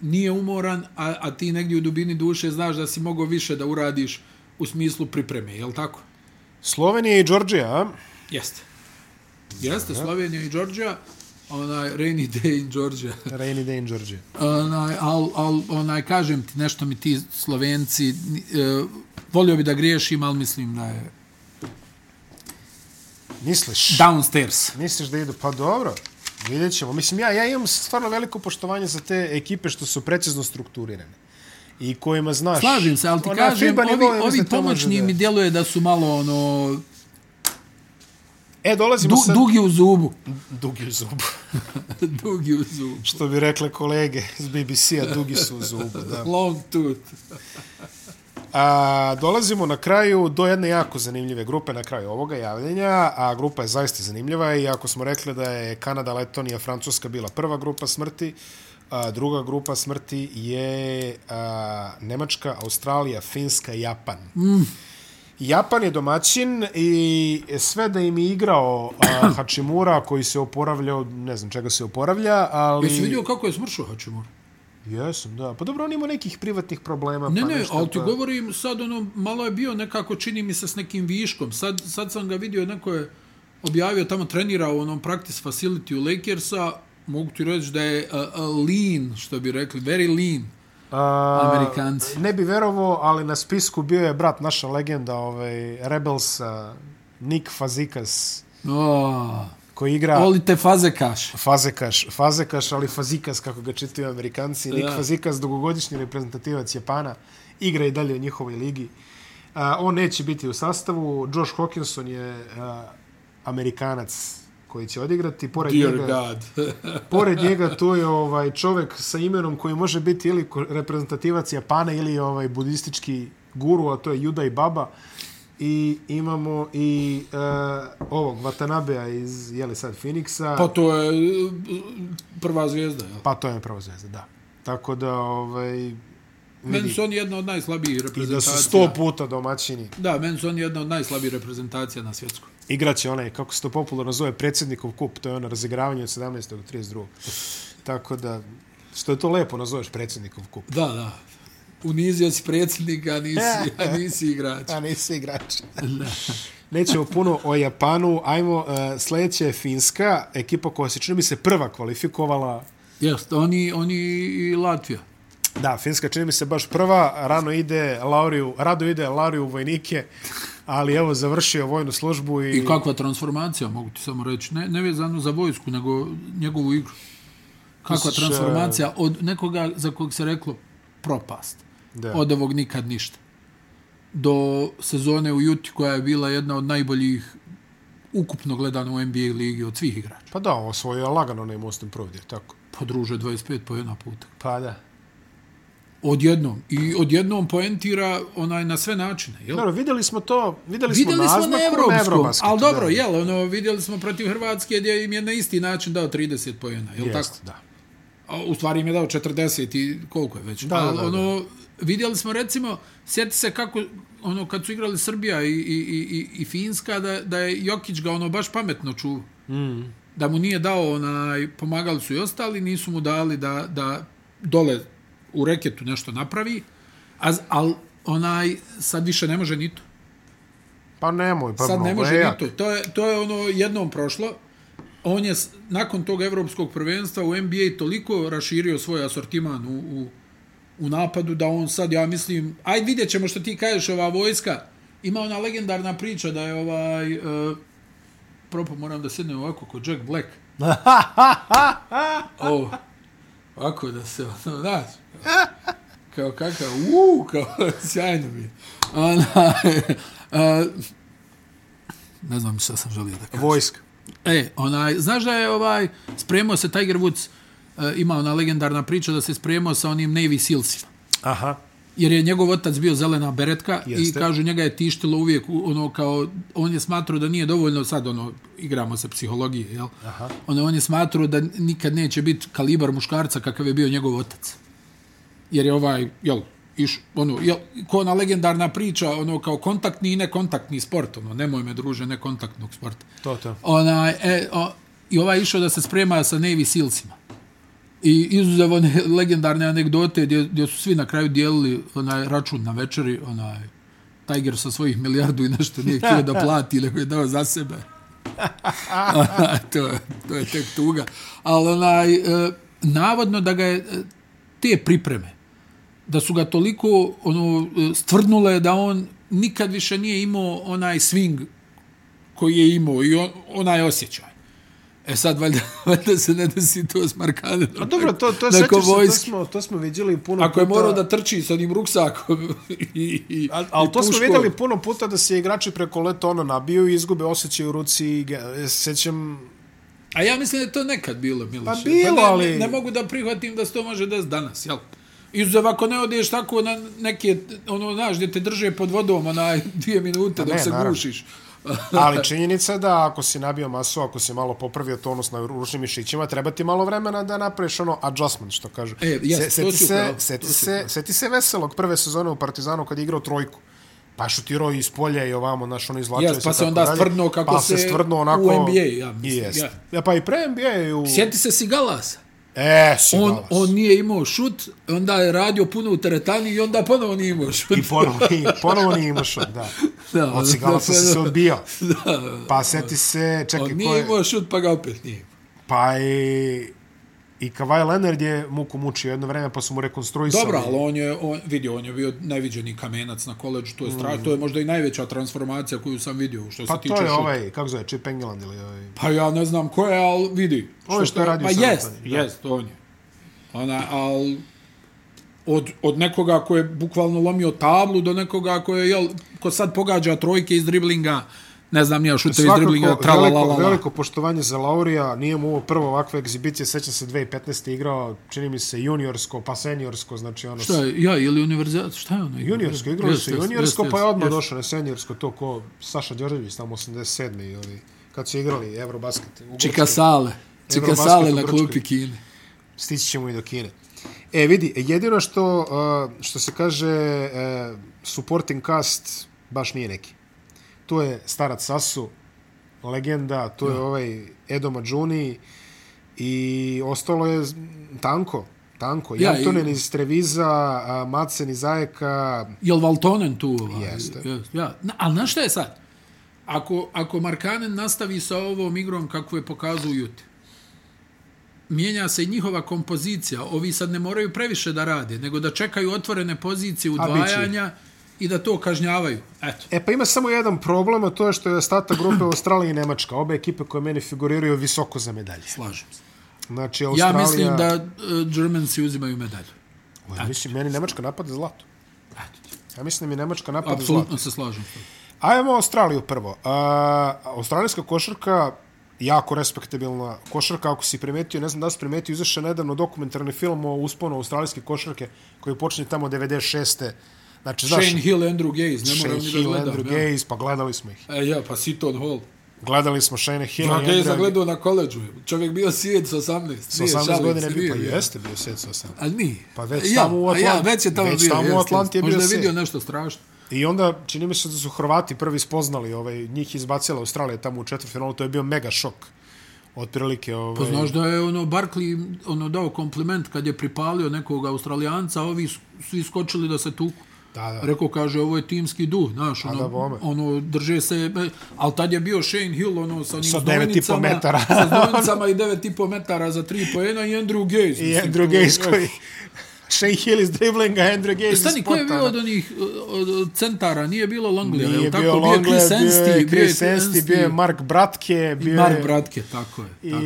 B: nije umoran, a, a ti negdje u dubini duše znaš da si mogao više da uradiš u smislu pripreme, jel tako?
A: Slovenija i Đorđija, a?
B: Jeste. Jeste, Slovenija i Georgia, onaj rainy day in Georgia.
A: Rainy Day in Đorđija.
B: Onaj, al, al, onaj, kažem ti, nešto mi ti Slovenci, ni- e, volio bi da griješim, ali mislim da je
A: Misliš?
B: downstairs.
A: Misliš da idu? Pa dobro, vidjet ćemo. Mislim, ja, ja imam stvarno veliko poštovanje za te ekipe što su precizno strukturirane. I kojima znaš...
B: Slažem se, ali ti
A: Ona
B: kažem,
A: FIBA
B: ovi,
A: nivo, ja mislim
B: ovi
A: da to može
B: pomoćni
A: da-
B: mi djeluje da su malo ono,
A: E, dolazimo
B: du,
A: sad...
B: dugi u zubu.
A: Dugi u zubu.
B: dugi u zubu.
A: Što bi rekle kolege iz BBC-a, dugi su u zubu, da.
B: Long tooth.
A: A, dolazimo na kraju do jedne jako zanimljive grupe na kraju ovoga javljenja, a grupa je zaista zanimljiva i ako smo rekli da je Kanada, Letonija, Francuska bila prva grupa smrti, a, druga grupa smrti je a, Nemačka, Australija, Finska i Japan. Mm. Japan je domaćin i sve da im je igrao a, Hachimura koji se oporavlja, od- ne znam čega se oporavlja, ali...
B: Jesi vidio kako je smršao Hačimura?
A: Jesam, da. Pa dobro, on ima nekih privatnih problema.
B: Ne,
A: pa
B: ne,
A: nešto,
B: ali ti
A: pa-
B: govorim, sad ono, malo je bio nekako, čini mi se, s nekim viškom. Sad, sad sam ga vidio, neko je objavio, tamo trenira u onom practice facility u Lakersa, mogu ti reći da je uh, uh, lean, što bi rekli, very lean.
A: A,
B: Amerikanci.
A: Ne bi verovo, ali na spisku bio je brat naša legenda, ovaj, Rebels, a, Nick Fazikas,
B: Oh,
A: koji igra Oli...
B: Oli te faze kaš.
A: Fazekaš, Fazekaš, ali Fazikas, kako ga čitaju Amerikanci. Nick
B: Da.
A: Fazikas, dugogodišnji reprezentativac Japana, igra i dalje u njihovoj ligi. A, on neće biti u sastavu. Josh Hawkinson je a, Amerikanac koji će odigrati. Pored
B: Dear
A: njega,
B: God.
A: Pored njega tu je ovaj čovjek sa imenom koji može biti ili ko- reprezentativac Japana ili ovaj budistički guru, a to je Juda i Baba. I imamo i uh, ovog Vatanabea iz je li sad Phoenixa.
B: pa to je uh, prva zvijezda, jel?
A: pa to je prva zvezda, da. Tako da ovaj
B: Meni
A: vidi
B: su oni jedna od najslabijih
A: i da su
B: reprezentacija.
A: sto puta domaćini.
B: Da, meni su oni jedna od najslabijih reprezentacija na svjetskom.
A: Igraće onaj, kako se to popularno zove, predsjednikov kup. To je ono razigravanje od 17. do 32. Tako da, što je to lepo nazoveš predsjednikov kup.
B: Da, da. Unizio si predsjednika, a nisi, a nisi igrač.
A: A nisi igrač. Nećemo puno o Japanu. Ajmo, uh, sljedeća je Finska, ekipa koja se čini mi se prva kvalifikovala.
B: Jeste, oni, oni i Latvija.
A: Da, Finska čini mi se baš prva. Rano ide Lauriju, rado ide Lauriju u vojnike, ali evo završio vojnu službu i,
B: I kakva transformacija, mogu ti samo reći. Ne, ne vezano za vojsku, nego njegovu igru. Kakva
A: Misliš, e,
B: transformacija od nekoga za kog se reklo propast.
A: Da.
B: Od ovog nikad ništa. Do sezone u Juti koja je bila jedna od najboljih ukupno gledano u NBA ligi od svih igrača.
A: Pa da, osvojio je lagano onaj Most Improved, tako.
B: Podruže 25 po jedna puta.
A: Pa da.
B: Odjednom. I odjednom poentira onaj na sve načine. Jel?
A: Dobro, videli smo to, videli,
B: Vidjeli smo
A: naznaku
B: na evropskom,
A: Eurobasketu,
B: ali dobro,
A: da.
B: jel, ono, vidjeli smo protiv Hrvatske gdje im je na isti način dao 30 pojena, jel
A: Jest,
B: tako?
A: da.
B: A, u stvari im je dao 40 i koliko je već.
A: Da,
B: ali,
A: da, da.
B: ono, vidjeli smo, recimo, sjeti se kako, ono, kad su igrali Srbija i, i, i, i- i Finska, da, da je Jokić ga, ono, baš pametno čuvao. Mm. Da mu nije dao, onaj, pomagali su i ostali, nisu mu dali da, da dole u reketu nešto napravi, a, z- al, onaj, sad više ne može ni to.
A: Pa nemoj, pa
B: Sad ne
A: mnogo
B: može
A: je
B: ni
A: jak.
B: to. To je, to je ono jednom prošlo. On je s- nakon tog evropskog prvenstva u NBA toliko raširio svoj asortiman u, u, u napadu da on sad, ja mislim, aj vidjet ćemo što ti kažeš, ova vojska, ima ona legendarna priča da je ovaj, e, propo moram da sednem ovako kod Jack Black. o, ovako da se, ono, znaš, kao kakav, uuu, kao, sjajno mi je. Ona, e, ne znam šta sam želio da kažem.
A: Vojska.
B: E, onaj, znaš da je ovaj, spremao se Tiger Woods, e, ima ona legendarna priča da se spremao sa onim Navy Sealsima.
A: Aha.
B: Jer je njegov otac bio zelena beretka
A: Jeste.
B: i kažu njega je tištilo uvijek u- ono kao on je smatrao da nije dovoljno sad ono igramo se psihologije jel Aha. Ono, on je smatrao da nikad neće biti kalibar muškarca kakav je bio njegov otac jer je ovaj jel iš, ono, je, ko ona legendarna priča, ono, kao kontaktni i nekontaktni sport, ono, nemoj me druže nekontaktnog sporta.
A: To, to.
B: Ona, e, o, I ovaj je išao da se sprema sa Navy Sealsima. I izuzev one legendarne anegdote gdje, gdje su svi na kraju dijelili onaj račun na večeri, onaj Tiger sa svojih milijardu i nešto nije htio da plati, nego je dao za sebe. Onaj, to, je- to je tek tuga. Ali onaj, e, navodno da ga je e, te pripreme, da su ga toliko ono, e, stvrdnule da on nikad više nije imao onaj swing koji je imao i on, onaj osjećaj. E sad, valjda, valjda se ne desi to s Markanenom.
A: A Pa dobro, to, to,
B: Nakon
A: sećaš se, to
B: vojske.
A: smo, to smo vidjeli puno
B: Ako je
A: puta.
B: morao da trči sa onim ruksakom i, i
A: Al, al
B: i
A: to smo
B: puškom.
A: vidjeli puno puta da se igrači preko leta ono nabiju i izgube osjećaj u ruci. i ge- e, Sećam,
B: A ja mislim da je to nekad bilo, Miloše.
A: Pa bilo,
B: ne,
A: ali-
B: Ne, ne mogu da prihvatim da se to može desiti danas, jel? Izuzev ako ne odeš tako na neke, ono, znaš, gdje te drže pod vodom, onaj, dvije minute dok
A: Pa ne,
B: se
A: naravno.
B: gušiš.
A: ali činjenica je da ako si nabio masu, ako si malo popravio tonus na ručnim mišićima, treba ti malo vremena da napraviš ono adjustment, što kažu.
B: E, jes, to
A: seti,
B: si
A: se,
B: upravo,
A: seti,
B: to si
A: se,
B: upravo.
A: seti se veselog prve sezone u Partizanu kad je igrao trojku. Pa šutirao iz polja i ovamo, naš ono izvlačio
B: Jes, pa
A: se
B: se
A: tako
B: onda
A: dalje.
B: stvrdnuo kako
A: pa se
B: se
A: stvrdnuo
B: u
A: onako...
B: NBA, ja mislim,
A: Jest.
B: ja.
A: Ja. Pa i pre NBA u...
B: Sjeti se Sigalasa.
A: E, si
B: On,
A: galas.
B: on nije imao šut, onda je radio puno u teretani i onda ponovo nije imao šut.
A: I ponovo, nije- ponovo nije imao šut, da.
B: Da,
A: Od Sigalaca
B: da,
A: si se
B: da.
A: odbijao.
B: Da,
A: Pa seti se, čekaj,
B: on
A: ko
B: nije
A: je...
B: imao šut, pa ga opet nije imao.
A: Pa i, i Kawhi Leonard je muku mučio jedno vreme, pa su mu rekonstruisali.
B: Dobro, ali on je, on, vidio, on je bio neviđeni kamenac na koleđu, to je strah, to je možda i najveća transformacija koju sam vidio, što
A: Mhm.
B: se
A: Pa
B: tiče
A: to je
B: šuta.
A: ovaj, kako zove, Chip England ili ovaj...
B: Pa ja ne znam ko je, ali vidi.
A: Ovo je što je radio
B: Pa
A: sa
B: jest,
A: Antonijom, da.
B: jest, on je. Ona, ali od, od nekoga ko je bukvalno lomio tablu do nekoga ko je, jel, ko sad pogađa trojke iz driblinga, ne znam, nije šuter iz driblinga,
A: veliko,
B: tralalalala.
A: veliko poštovanje za Laurija, nije mu ovo prvo ovakve egzibicije, sećam se 2015. igrao, čini mi se juniorsko, pa seniorsko, znači ono...
B: Šta je, ja ili univerzijat, šta je ono?
A: Juniorsko, igrao
B: Jest,
A: se
B: jest,
A: juniorsko,
B: jest,
A: pa je
B: jest,
A: odmah
B: jest.
A: došao na seniorsko, to ko Saša Đorđević, tamo 87. ili kad su igrali Eurobasket. u Grčkoj.
B: Čika sale. Čika
A: Eurobasket
B: sale
A: u
B: na
A: Grčkoj.
B: klupi Kine.
A: stići ćemo i do Kine. E, vidi, jedino što, uh, što se kaže, uh, supporting cast baš nije neki. Tu je starac Sasu, legenda, tu je ovaj Edo Mađuni i ostalo je z- tanko. Tanko. Ja,
B: Ja, i-
A: Antonen iz Treviza, uh, Macen iz Ajeka,
B: Jel Valtonen tu? Ovaj?
A: Jeste.
B: Jest, ja. Na, ali znaš šta je sad? Ako, ako Markanen nastavi sa ovom igrom kako je pokazao Jute, mijenja se i njihova kompozicija. Ovi sad ne moraju previše da rade, nego da čekaju otvorene
A: A,
B: pozicije
A: bit će ih.
B: udvajanja i da to kažnjavaju. Eto.
A: E pa ima samo jedan problem, a to je što je ostatak grupe Australija i Nemačka. Obe ekipe koje meni figuriraju visoko za medalje.
B: Slažem se.
A: Znači,
B: Ja
A: Australija...
B: mislim da uh, Germansi uzimaju medalju.
A: Ja mislim, meni Nemačka napada zlato.
B: Eto.
A: Ja mislim da mi Nemačka napada Pa zlato.
B: Apsolutno se slažem. s tobom.
A: Ajmo Australiju prvo. Uh, australijska košarka jako respektabilna košarka, ako si primetio, ne znam da li si primetio, izašao je nedavno dokumentarni film o usponu australijske košarke koji počinje tamo 96. Znači, znaš,
B: Shane Hill, Andrew Gaze, ne moram ni da
A: Hill,
B: gledam.
A: Andrew
B: ja.
A: Gaze, pa gledali smo ih.
B: E, ja, pa Seton Hall.
A: Gledali smo Shane Hill
B: Ja ga je zagledao na koleđu. Čovjek bio sijed sa 18.
A: Sa 18 godina je bio, pa jeste bio sjed sa 18.
B: A nije.
A: Pa već
B: ja,
A: tamo u
B: a Ja,
A: Atlanti-
B: već je tamo
A: već
B: bio.
A: tamo u
B: jeste,
A: Atlanti je bio
B: Možda je
A: sijed.
B: vidio nešto strašno.
A: I onda čini mi se da su Hrvati prvi spoznali, ovaj, njih izbacila Australija tamo u četvrtfinalu, to je bio mega šok. Otprilike, ovaj,
B: Znaš da je ono Barkley ono dao kompliment kad je pripalio nekog Australijanca, a ovi s- svi skočili da se tuku.
A: Da, da.
B: Rekao, kaže, ovo je timski duh, znaš,
A: da,
B: ono,
A: bome.
B: ono, drže se, e, ali tad je bio Shane Hill, ono, sa njim
A: Sa 9,5 metara.
B: sa zdojenicama i 9,5 metara za 3 pojena i Andrew Gaze.
A: I
B: mislim,
A: Andrew
B: to-
A: Gaze koji... Shane Hill iz driblinga, Andrew Gaze iz
B: E, Stani, ko je bio
A: spota.
B: od onih uh, od, od centara? Nije bilo Longley,
A: Nije
B: je tako?
A: bio Longley, bio je Chris Ensti, bio je
B: Mark,
A: Mark Bratke, bio je...
B: Mark Bratke, tako je.
A: I
B: tako.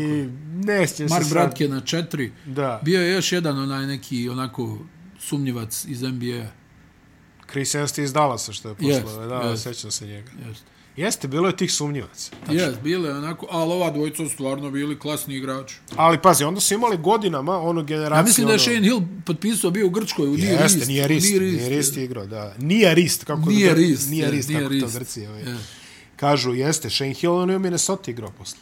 A: ne sjećam se
B: Mark
A: sad.
B: Bratke na četiri.
A: Da.
B: Bio je još jedan onaj neki onako sumnjivac iz NBA.
A: Chris Ensti iz Dallasa što je poslao.
B: Jest,
A: da,
B: jest.
A: sjećam se njega.
B: Jest.
A: Jeste, bilo je tih sumnjivaca.
B: Jes, bile je onako, ali ova dvojica su stvarno bili klasni igrači.
A: Ali pazi, onda su imali godinama onu generaciju...
B: Ja mislim da je
A: ono-
B: Shane Hill potpisao bio u Grčkoj, u Nije
A: Jeste,
B: Rist.
A: nije rist,
B: u
A: nije rist, nije rist je igrao, da. Nije rist, kako
B: Nije
A: da,
B: rist,
A: nije
B: je,
A: rist,
B: nije
A: tako
B: rist.
A: to Grci. Ovaj.
B: Je.
A: Kažu, jeste, Shane Hill, on je u Minnesota igrao posle.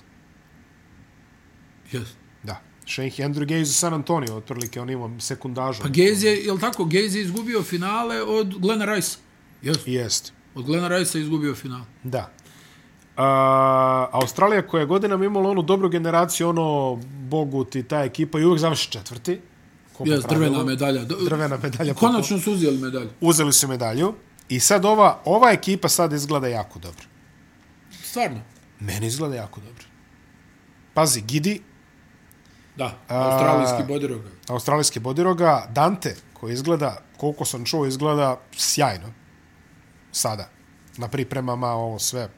B: Jest.
A: Da. Shane Andrew Gaze za San Antonio, otprilike on ima sekundažu.
B: Pa Gaze je, jel tako, Gaze je izgubio finale od Glena Rice. Jes,
A: Jest,
B: od Glena Rice je izgubio finale.
A: da. Uh, Australija koja je godinama imala onu dobru generaciju, ono, Bogu ti ta ekipa i uvijek završi četvrti. Ko po
B: Jes, drvena
A: pravilu.
B: medalja. Do-
A: Drvena medalja. po-
B: Konačno su uzijeli medalju.
A: Uzeli su medalju i sad ova, ova ekipa sad izgleda jako dobro.
B: Stvarno.
A: Meni izgleda jako dobro. Pazi, Gidi,
B: Da, australijski bodiroga.
A: australijski bodiroga, Dante, koji izgleda, koliko sam čuo, izgleda sjajno. Sada. Na pripremama, ovo sve.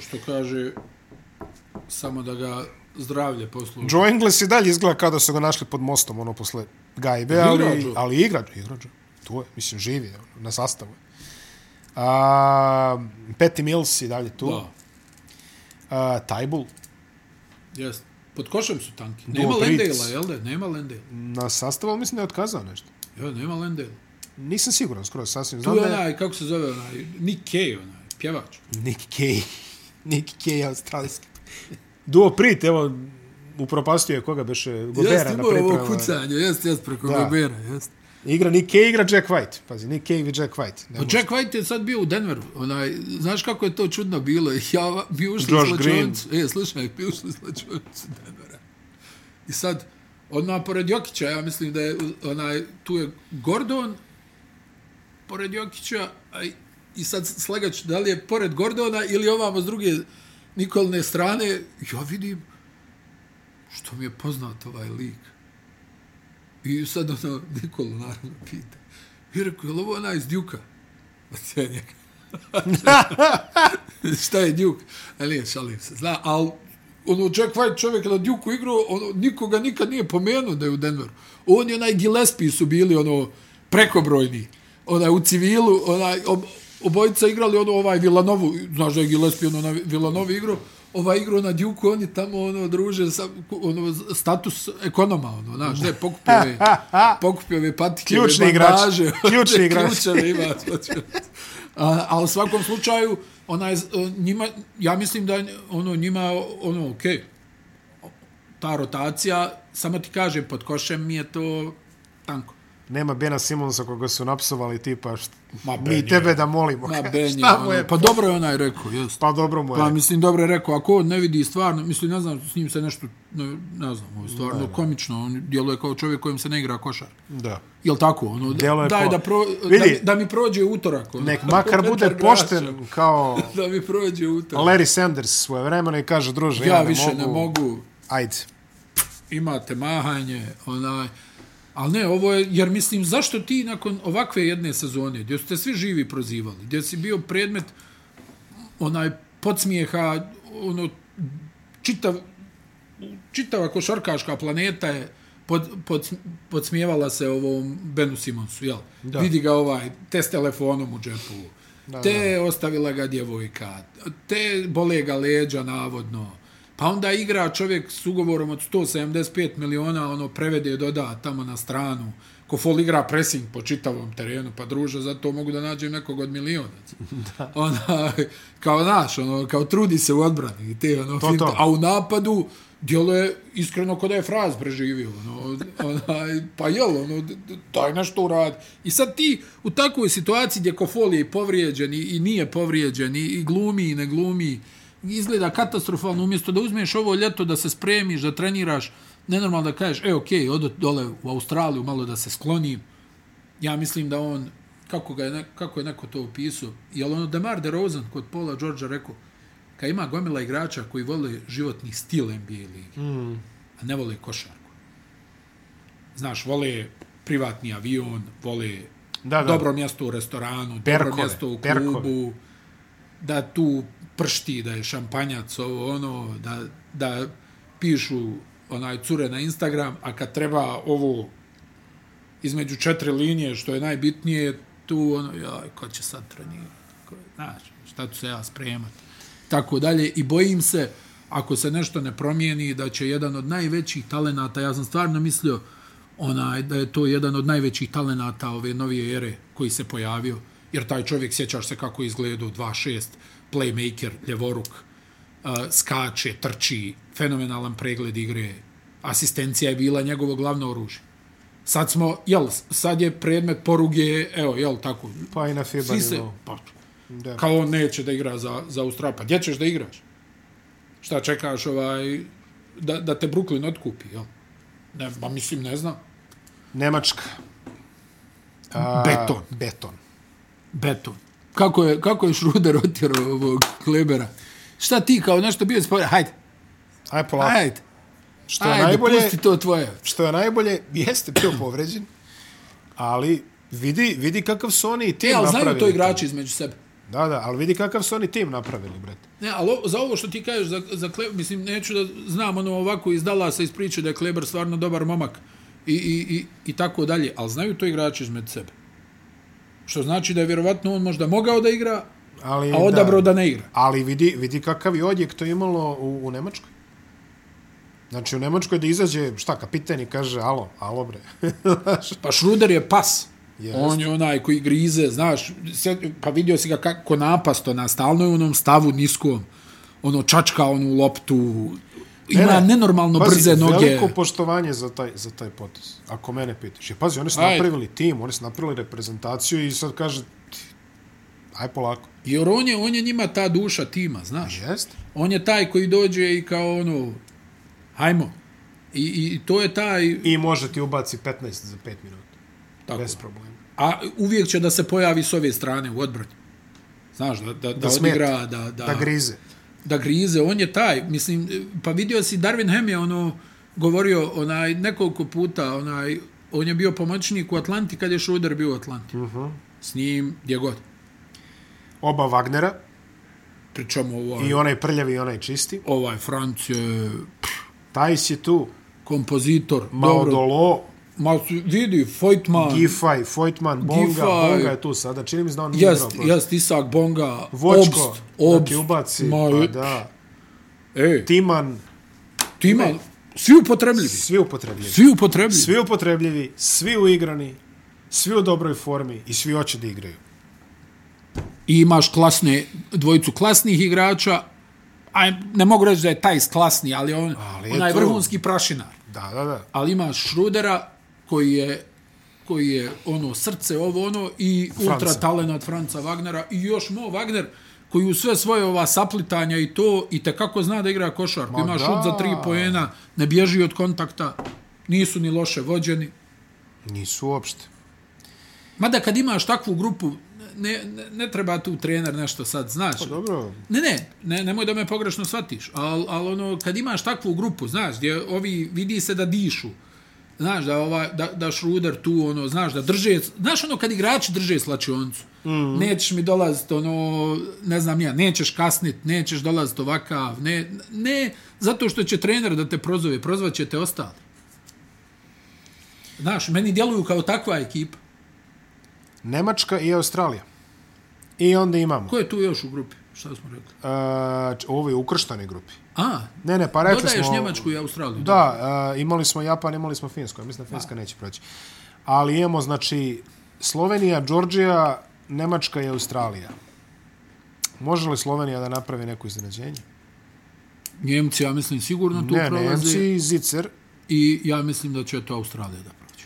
B: Što kaže, samo da ga zdravlje posluži.
A: Joe Ingles i dalje izgleda kao da su ga našli pod mostom, ono, posle gajbe,
B: Igra
A: ali,
B: Joe.
A: ali igra, Joe, igra Joe. Tu je, mislim, živi, je, ono, na sastavu. je. A, Patty Mills i dalje tu.
B: Da,
A: A, Tybull
B: jes. Pod košem su tanki.
A: Duo
B: Nema
A: tric.
B: Lendela, jel da? Nema Lendela.
A: na sastavu, ali mislim da je otkazao nešto.
B: Jo, nema Lendela.
A: Nisam siguran, skoro sasvim.
B: Tu
A: Znam
B: je
A: da je
B: onaj, kako se zove onaj, Nick Cave, onaj, pjevač.
A: Nick Cave. Nick Cave, australijski. Duo Prit, evo, upropastio je koga beše Gobera
B: Jeste
A: na
B: imao ovo
A: pripremama.
B: kucanje, jeste, jeste, preko
A: Da.
B: Gobera, jeste.
A: Igra Nick Cave, igra Jack White. Pazi, Nick Cave i Jack White. Ne
B: Pa Jack White je sad bio u Denveru, onaj, znaš kako je to čudno bilo, ja, va- mi ušli
A: Josh
B: u slačionicu, e, slušaj, mi ušli u slačionicu Denvera. I sad, odmah pored Jokića, ja mislim da je, onaj, tu je Gordon, pored Jokića, a i- i sad slagač, da li je pored Gordona ili ovamo s druge Nikolne strane, ja vidim, što mi je poznat ovaj lik. I sad ono, Nikolo naravno pita. I rekao, je li ovo onaj iz Djuka? Pa to je njega. Šta je Djuk? A nije, šalim se. Zna, ali ono, Jack White čovjek na Djuku igrao, ono, nikoga nikad nije pomenuo da je u Denveru. On i onaj Gillespie su bili, ono, prekobrojni. Onaj, u civilu, onaj, ob, obojica igrali, ono, ovaj Villanovu, znaš da je Gillespie, ono, na Villanovi igrao, ovaj igrao na Djuku, on je tamo, ono, druže, sa, ono, status ekonoma, ono, znaš, ne, pokupio je, pokupio je patike,
A: Ključni igrač.
B: bandaže,
A: Ključni igrač.
B: ključeve ima, znači. A, a u svakom slučaju, onaj, z- o, njima, ja mislim da je, ono, njima, ono, okej, ta rotacija, samo ti kažem, pod košem mi je to tanko.
A: Nema Bena Simonsa koga su napsovali tipa št...
B: Ma, Ben
A: mi
B: je-
A: tebe da molimo.
B: Ma,
A: Ka-
B: Ben je,
A: Šta mu
B: ono,
A: je?
B: pa dobro je onaj rekao, jest.
A: Pa dobro mu je.
B: Pa mislim, dobro je rekao, ako on ne vidi stvarno, mislim, ne znam, s njim se nešto, ne, ne znam, ovo je stvarno komično, on djeluje kao čovjek kojem se ne igra košarka.
A: Da.
B: Jel tako? Ono,
A: Djeluje
B: daj
A: ko-
B: da, pro,
A: Vidi.
B: da, da mi prođe utorak. Ono.
A: Nek makar bude
B: Petar Graša.
A: pošten kao
B: Da mi prođe utorak.
A: Larry Sanders svoje vremena i kaže, druže, ja,
B: ja više
A: ne mogu. Ajde.
B: imate mahanje, onaj, ali ne, ovo je, jer mislim, zašto ti nakon ovakve jedne sezone, gdje su te svi živi prozivali, gdje si bio predmet onaj podsmijeha, ono, čitav, čitava košarkaška planeta je pod, pod, podsmijevala se ovom Benu Simonsu, jel? Da. Vidi ga ovaj, te s telefonom u džepu, da, te da. ostavila ga djevojka, te bole ga leđa navodno, pa onda igra čovjek s ugovorom od 175 miliona, ono prevede doda tamo na stranu, ko fol igra pressing po čitavom terenu, pa druže, zato mogu da nađem nekog od milionaca. Da. Ona, kao naš, ono, kao trudi se u odbrani, i te, ono,
A: To,
B: finte,
A: to.
B: a u napadu djelo je iskreno kod da je fraz preživio. Ono, onaj, pa jel, ono, d- d- daj nešto uradi. I sad ti u takvoj situaciji gdje Kofol je i povrijeđen i, i nije povrijeđen i, i glumi i ne glumi, izgleda katastrofalno. Umjesto da uzmeš ovo ljeto, da se spremiš, da treniraš, nenormalno da kažeš, e, okej, okay, odo dole u Australiju malo da se sklonim. Ja mislim da on, kako, ga je, ne- kako je neko to upisao, jel ono Demar DeRozan kod Paula Georgea rekao, kad ima gomila igrača koji vole životni stil NBA ligi, mm. a ne vole košarku. Znaš, vole privatni avion, vole
A: Da, da.
B: dobro mjesto u restoranu, dobro
A: Perkove,
B: mjesto u klubu,
A: perkove.
B: da tu pršti, da je šampanjac, ovo ono, da, da pišu onaj cure na Instagram, a kad treba ovo između četiri linije, što je najbitnije, tu ono, jaj, ko će sad trenirati, ko, znaš, šta ću se ja spremat, tako dalje, i bojim se, ako se nešto ne promijeni, da će jedan od najvećih talenata, ja sam stvarno mislio, onaj, da je to jedan od najvećih talenata ove novije ere koji se pojavio, jer taj čovjek, sjećaš se kako je izgledao, 2-6, playmaker, ljevoruk, uh, skače, trči, fenomenalan pregled igre, asistencija je bila njegovo glavno oružje. Sad smo, jel, sad je predmet poruge, evo, jel, tako.
A: Pa i na FIBA
B: Svi se,
A: nivou.
B: pa,
A: Da.
B: kao on neće da igra za, za Australiju. Pa gdje ćeš da igraš? Šta čekaš ovaj, da, da te Brooklyn otkupi, jel? Ne, ba mislim, ne znam.
A: Nemačka. A,
B: Beton.
A: Beton.
B: Beton. Kako je, kako je Šruder otjerao ovog Klebera? Šta ti kao nešto bio spore? Hajde,
A: Aj polako. Aj,
B: hajde.
A: što je
B: Ajde, najbolje...
A: Pa, najbolje,
B: pusti to tvoje.
A: što je najbolje, jeste bio povređen, ali vidi, vidi kakav su oni i tim
B: E, ali
A: napravili.
B: znaju to igrači između sebe.
A: Da, da, ali vidi kakav su oni tim napravili, brate.
B: Ne, ali o- za ovo što ti kažeš, za, za Kle, mislim, neću da znam ono ovako iz Dallasa iz priče da je Kleber stvarno dobar momak i, i, i, i tako dalje, ali znaju to igrači između sebe. Što znači da je vjerovatno on možda mogao da igra,
A: Ali,
B: a odabrao da, ne igra.
A: Ali vidi, vidi kakav je odjek to imalo u, u Nemačkoj. Znači, u Nemačkoj da izađe, šta, kapiten i kaže, alo, alo bre. Znaš,
B: Pa Šruder je pas.
A: Jeste.
B: On je onaj koji grize, znaš, sve, pa vidio si ga kako napasto na stalno je u onom stavu niskom, ono čačka onu loptu, ima
A: Ne, ne.
B: nenormalno
A: Pazi,
B: Ono brze noge.
A: Veliko poštovanje za taj, za taj potez, ako mene pitaš. Jer, pazi, oni su
B: Ajde.
A: napravili tim, oni su napravili reprezentaciju i sad kaže, "Ti, aj polako.
B: Jer on je, on je njima ta duša tima, znaš.
A: Jeste.
B: On je taj koji dođe i kao ono, hajmo. I, i to je taj,
A: I može ti ubaci 15 za 5 minuta.
B: tako,
A: Bez problema.
B: a uvijek će da se pojavi s ove strane u odbrani. Znaš, da, da, da, da
A: smeta.
B: odigra, da, da,
A: Da grize.
B: da grize, on je taj, mislim, pa vidio si Darwin Ham je ono, govorio onaj, nekoliko puta, onaj, on je bio pomoćnik u Atlanti kad je Schroeder bio u Atlanti. Uh
A: Mhm.
B: -huh. S njim, gdje god.
A: Oba Wagnera,
B: Pričamo ovaj,
A: i onaj prljavi i onaj čisti.
B: ovaj Franc je pff,
A: Tajs je tu,
B: kompozitor,
A: Malo
B: dobro,
A: Dolo,
B: Ma su- vidi, Fojtman,
A: Gifaj, Fojtman, Bonga,
B: Giffey.
A: Bonga je tu sada, čini mi se da on nije
B: Jest,
A: igrao. protiv-
B: jest Isak Bonga,
A: Vočko,
B: Obst,
A: da
B: Obst,
A: ti ubaci,
B: ma,
A: pa
B: je-
A: da.
B: E,
A: Timan,
B: ti ima, svi upotrebljivi,
A: svi upotrebljivi.
B: svi upotrebljivi.
A: Svi upotrebljivi, svi uigrani, svi u dobroj formi i svi hoće da igraju.
B: I imaš klasne, dvojicu klasnih igrača, a ne mogu reći da je taj klasni, ali on,
A: Ali
B: ali
A: je
B: onaj
A: to-
B: vrhunski prašinar.
A: Da, da, da.
B: Ali imaš Šrudera koji je koji je ono srce ovo ono i ultra talenat Franca Wagnera i još Mo Wagner koji u sve svoje ova saplitanja i to i te kako zna da igra košarku. Ima
A: da.
B: šut za tri poena, ne bježi od kontakta, nisu ni loše vođeni.
A: Nisu uopšte.
B: Mada kad imaš takvu grupu, ne, ne, ne treba tu trener nešto sad, znaš.
A: Dobro,
B: Ne, ne, ne, nemoj da me pogrešno shvatiš, ali al ono, kad imaš takvu grupu, znaš, gdje ovi vidi se da dišu, znaš, da, ova, da, da šruder tu, ono, znaš, da drže, znaš ono kad igrači drže slačionicu,
A: Mhm.
B: mm. nećeš mi dolazit, ono, ne znam ja, nećeš kasnit, nećeš dolazit ovakav, ne, ne, zato što će trener da te prozove, prozvaće te ostali. Znaš, meni djeluju kao takva ekipa.
A: Nemačka i Australija. I onda imamo.
B: Ko je tu još u grupi? Šta smo rekli?
A: Uh, ovo je u ukrštanoj grupi.
B: A,
A: Ne, ne, pa rekli
B: dodaješ
A: smo...
B: Njemačku i Australiju.
A: Da, uh, imali smo Japan, imali smo Finsku. Ja mislim da Finska neće proći. Ali imamo, znači, Slovenija, Đorđija, Nemačka i Australija. Može li Slovenija da napravi neko iznenađenje?
B: Njemci, ja mislim, sigurno tu
A: Ne,
B: prolaze
A: Nemci, Zicer.
B: i ja mislim da će to Australija da prođe.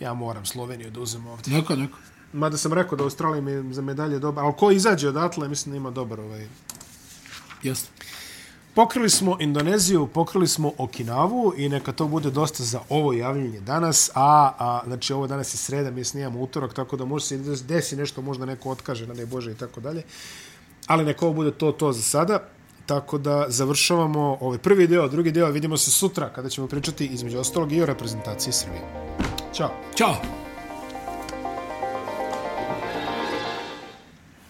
A: Ja moram Sloveniju da uzem ovdje.
B: Neka, neka.
A: Mada sam rekao da Australija mi je za medalje dobar, ali ko izađe odatle, mislim da ima dobar ovaj...
B: Jeste.
A: Pokrili smo Indoneziju, pokrili smo Okinavu i neka to bude dosta za ovo javljanje danas, a, a znači ovo danas je sreda, mi snijamo utorak, tako da može se des- desi nešto, možda neko otkaže, na ne Bože i tako dalje. Ali neka ovo bude to, to za sada. Tako da završavamo ovaj prvi deo, drugi deo, vidimo se sutra kada ćemo pričati između ostalog i o reprezentaciji Srbije. Ćao!
B: Ćao!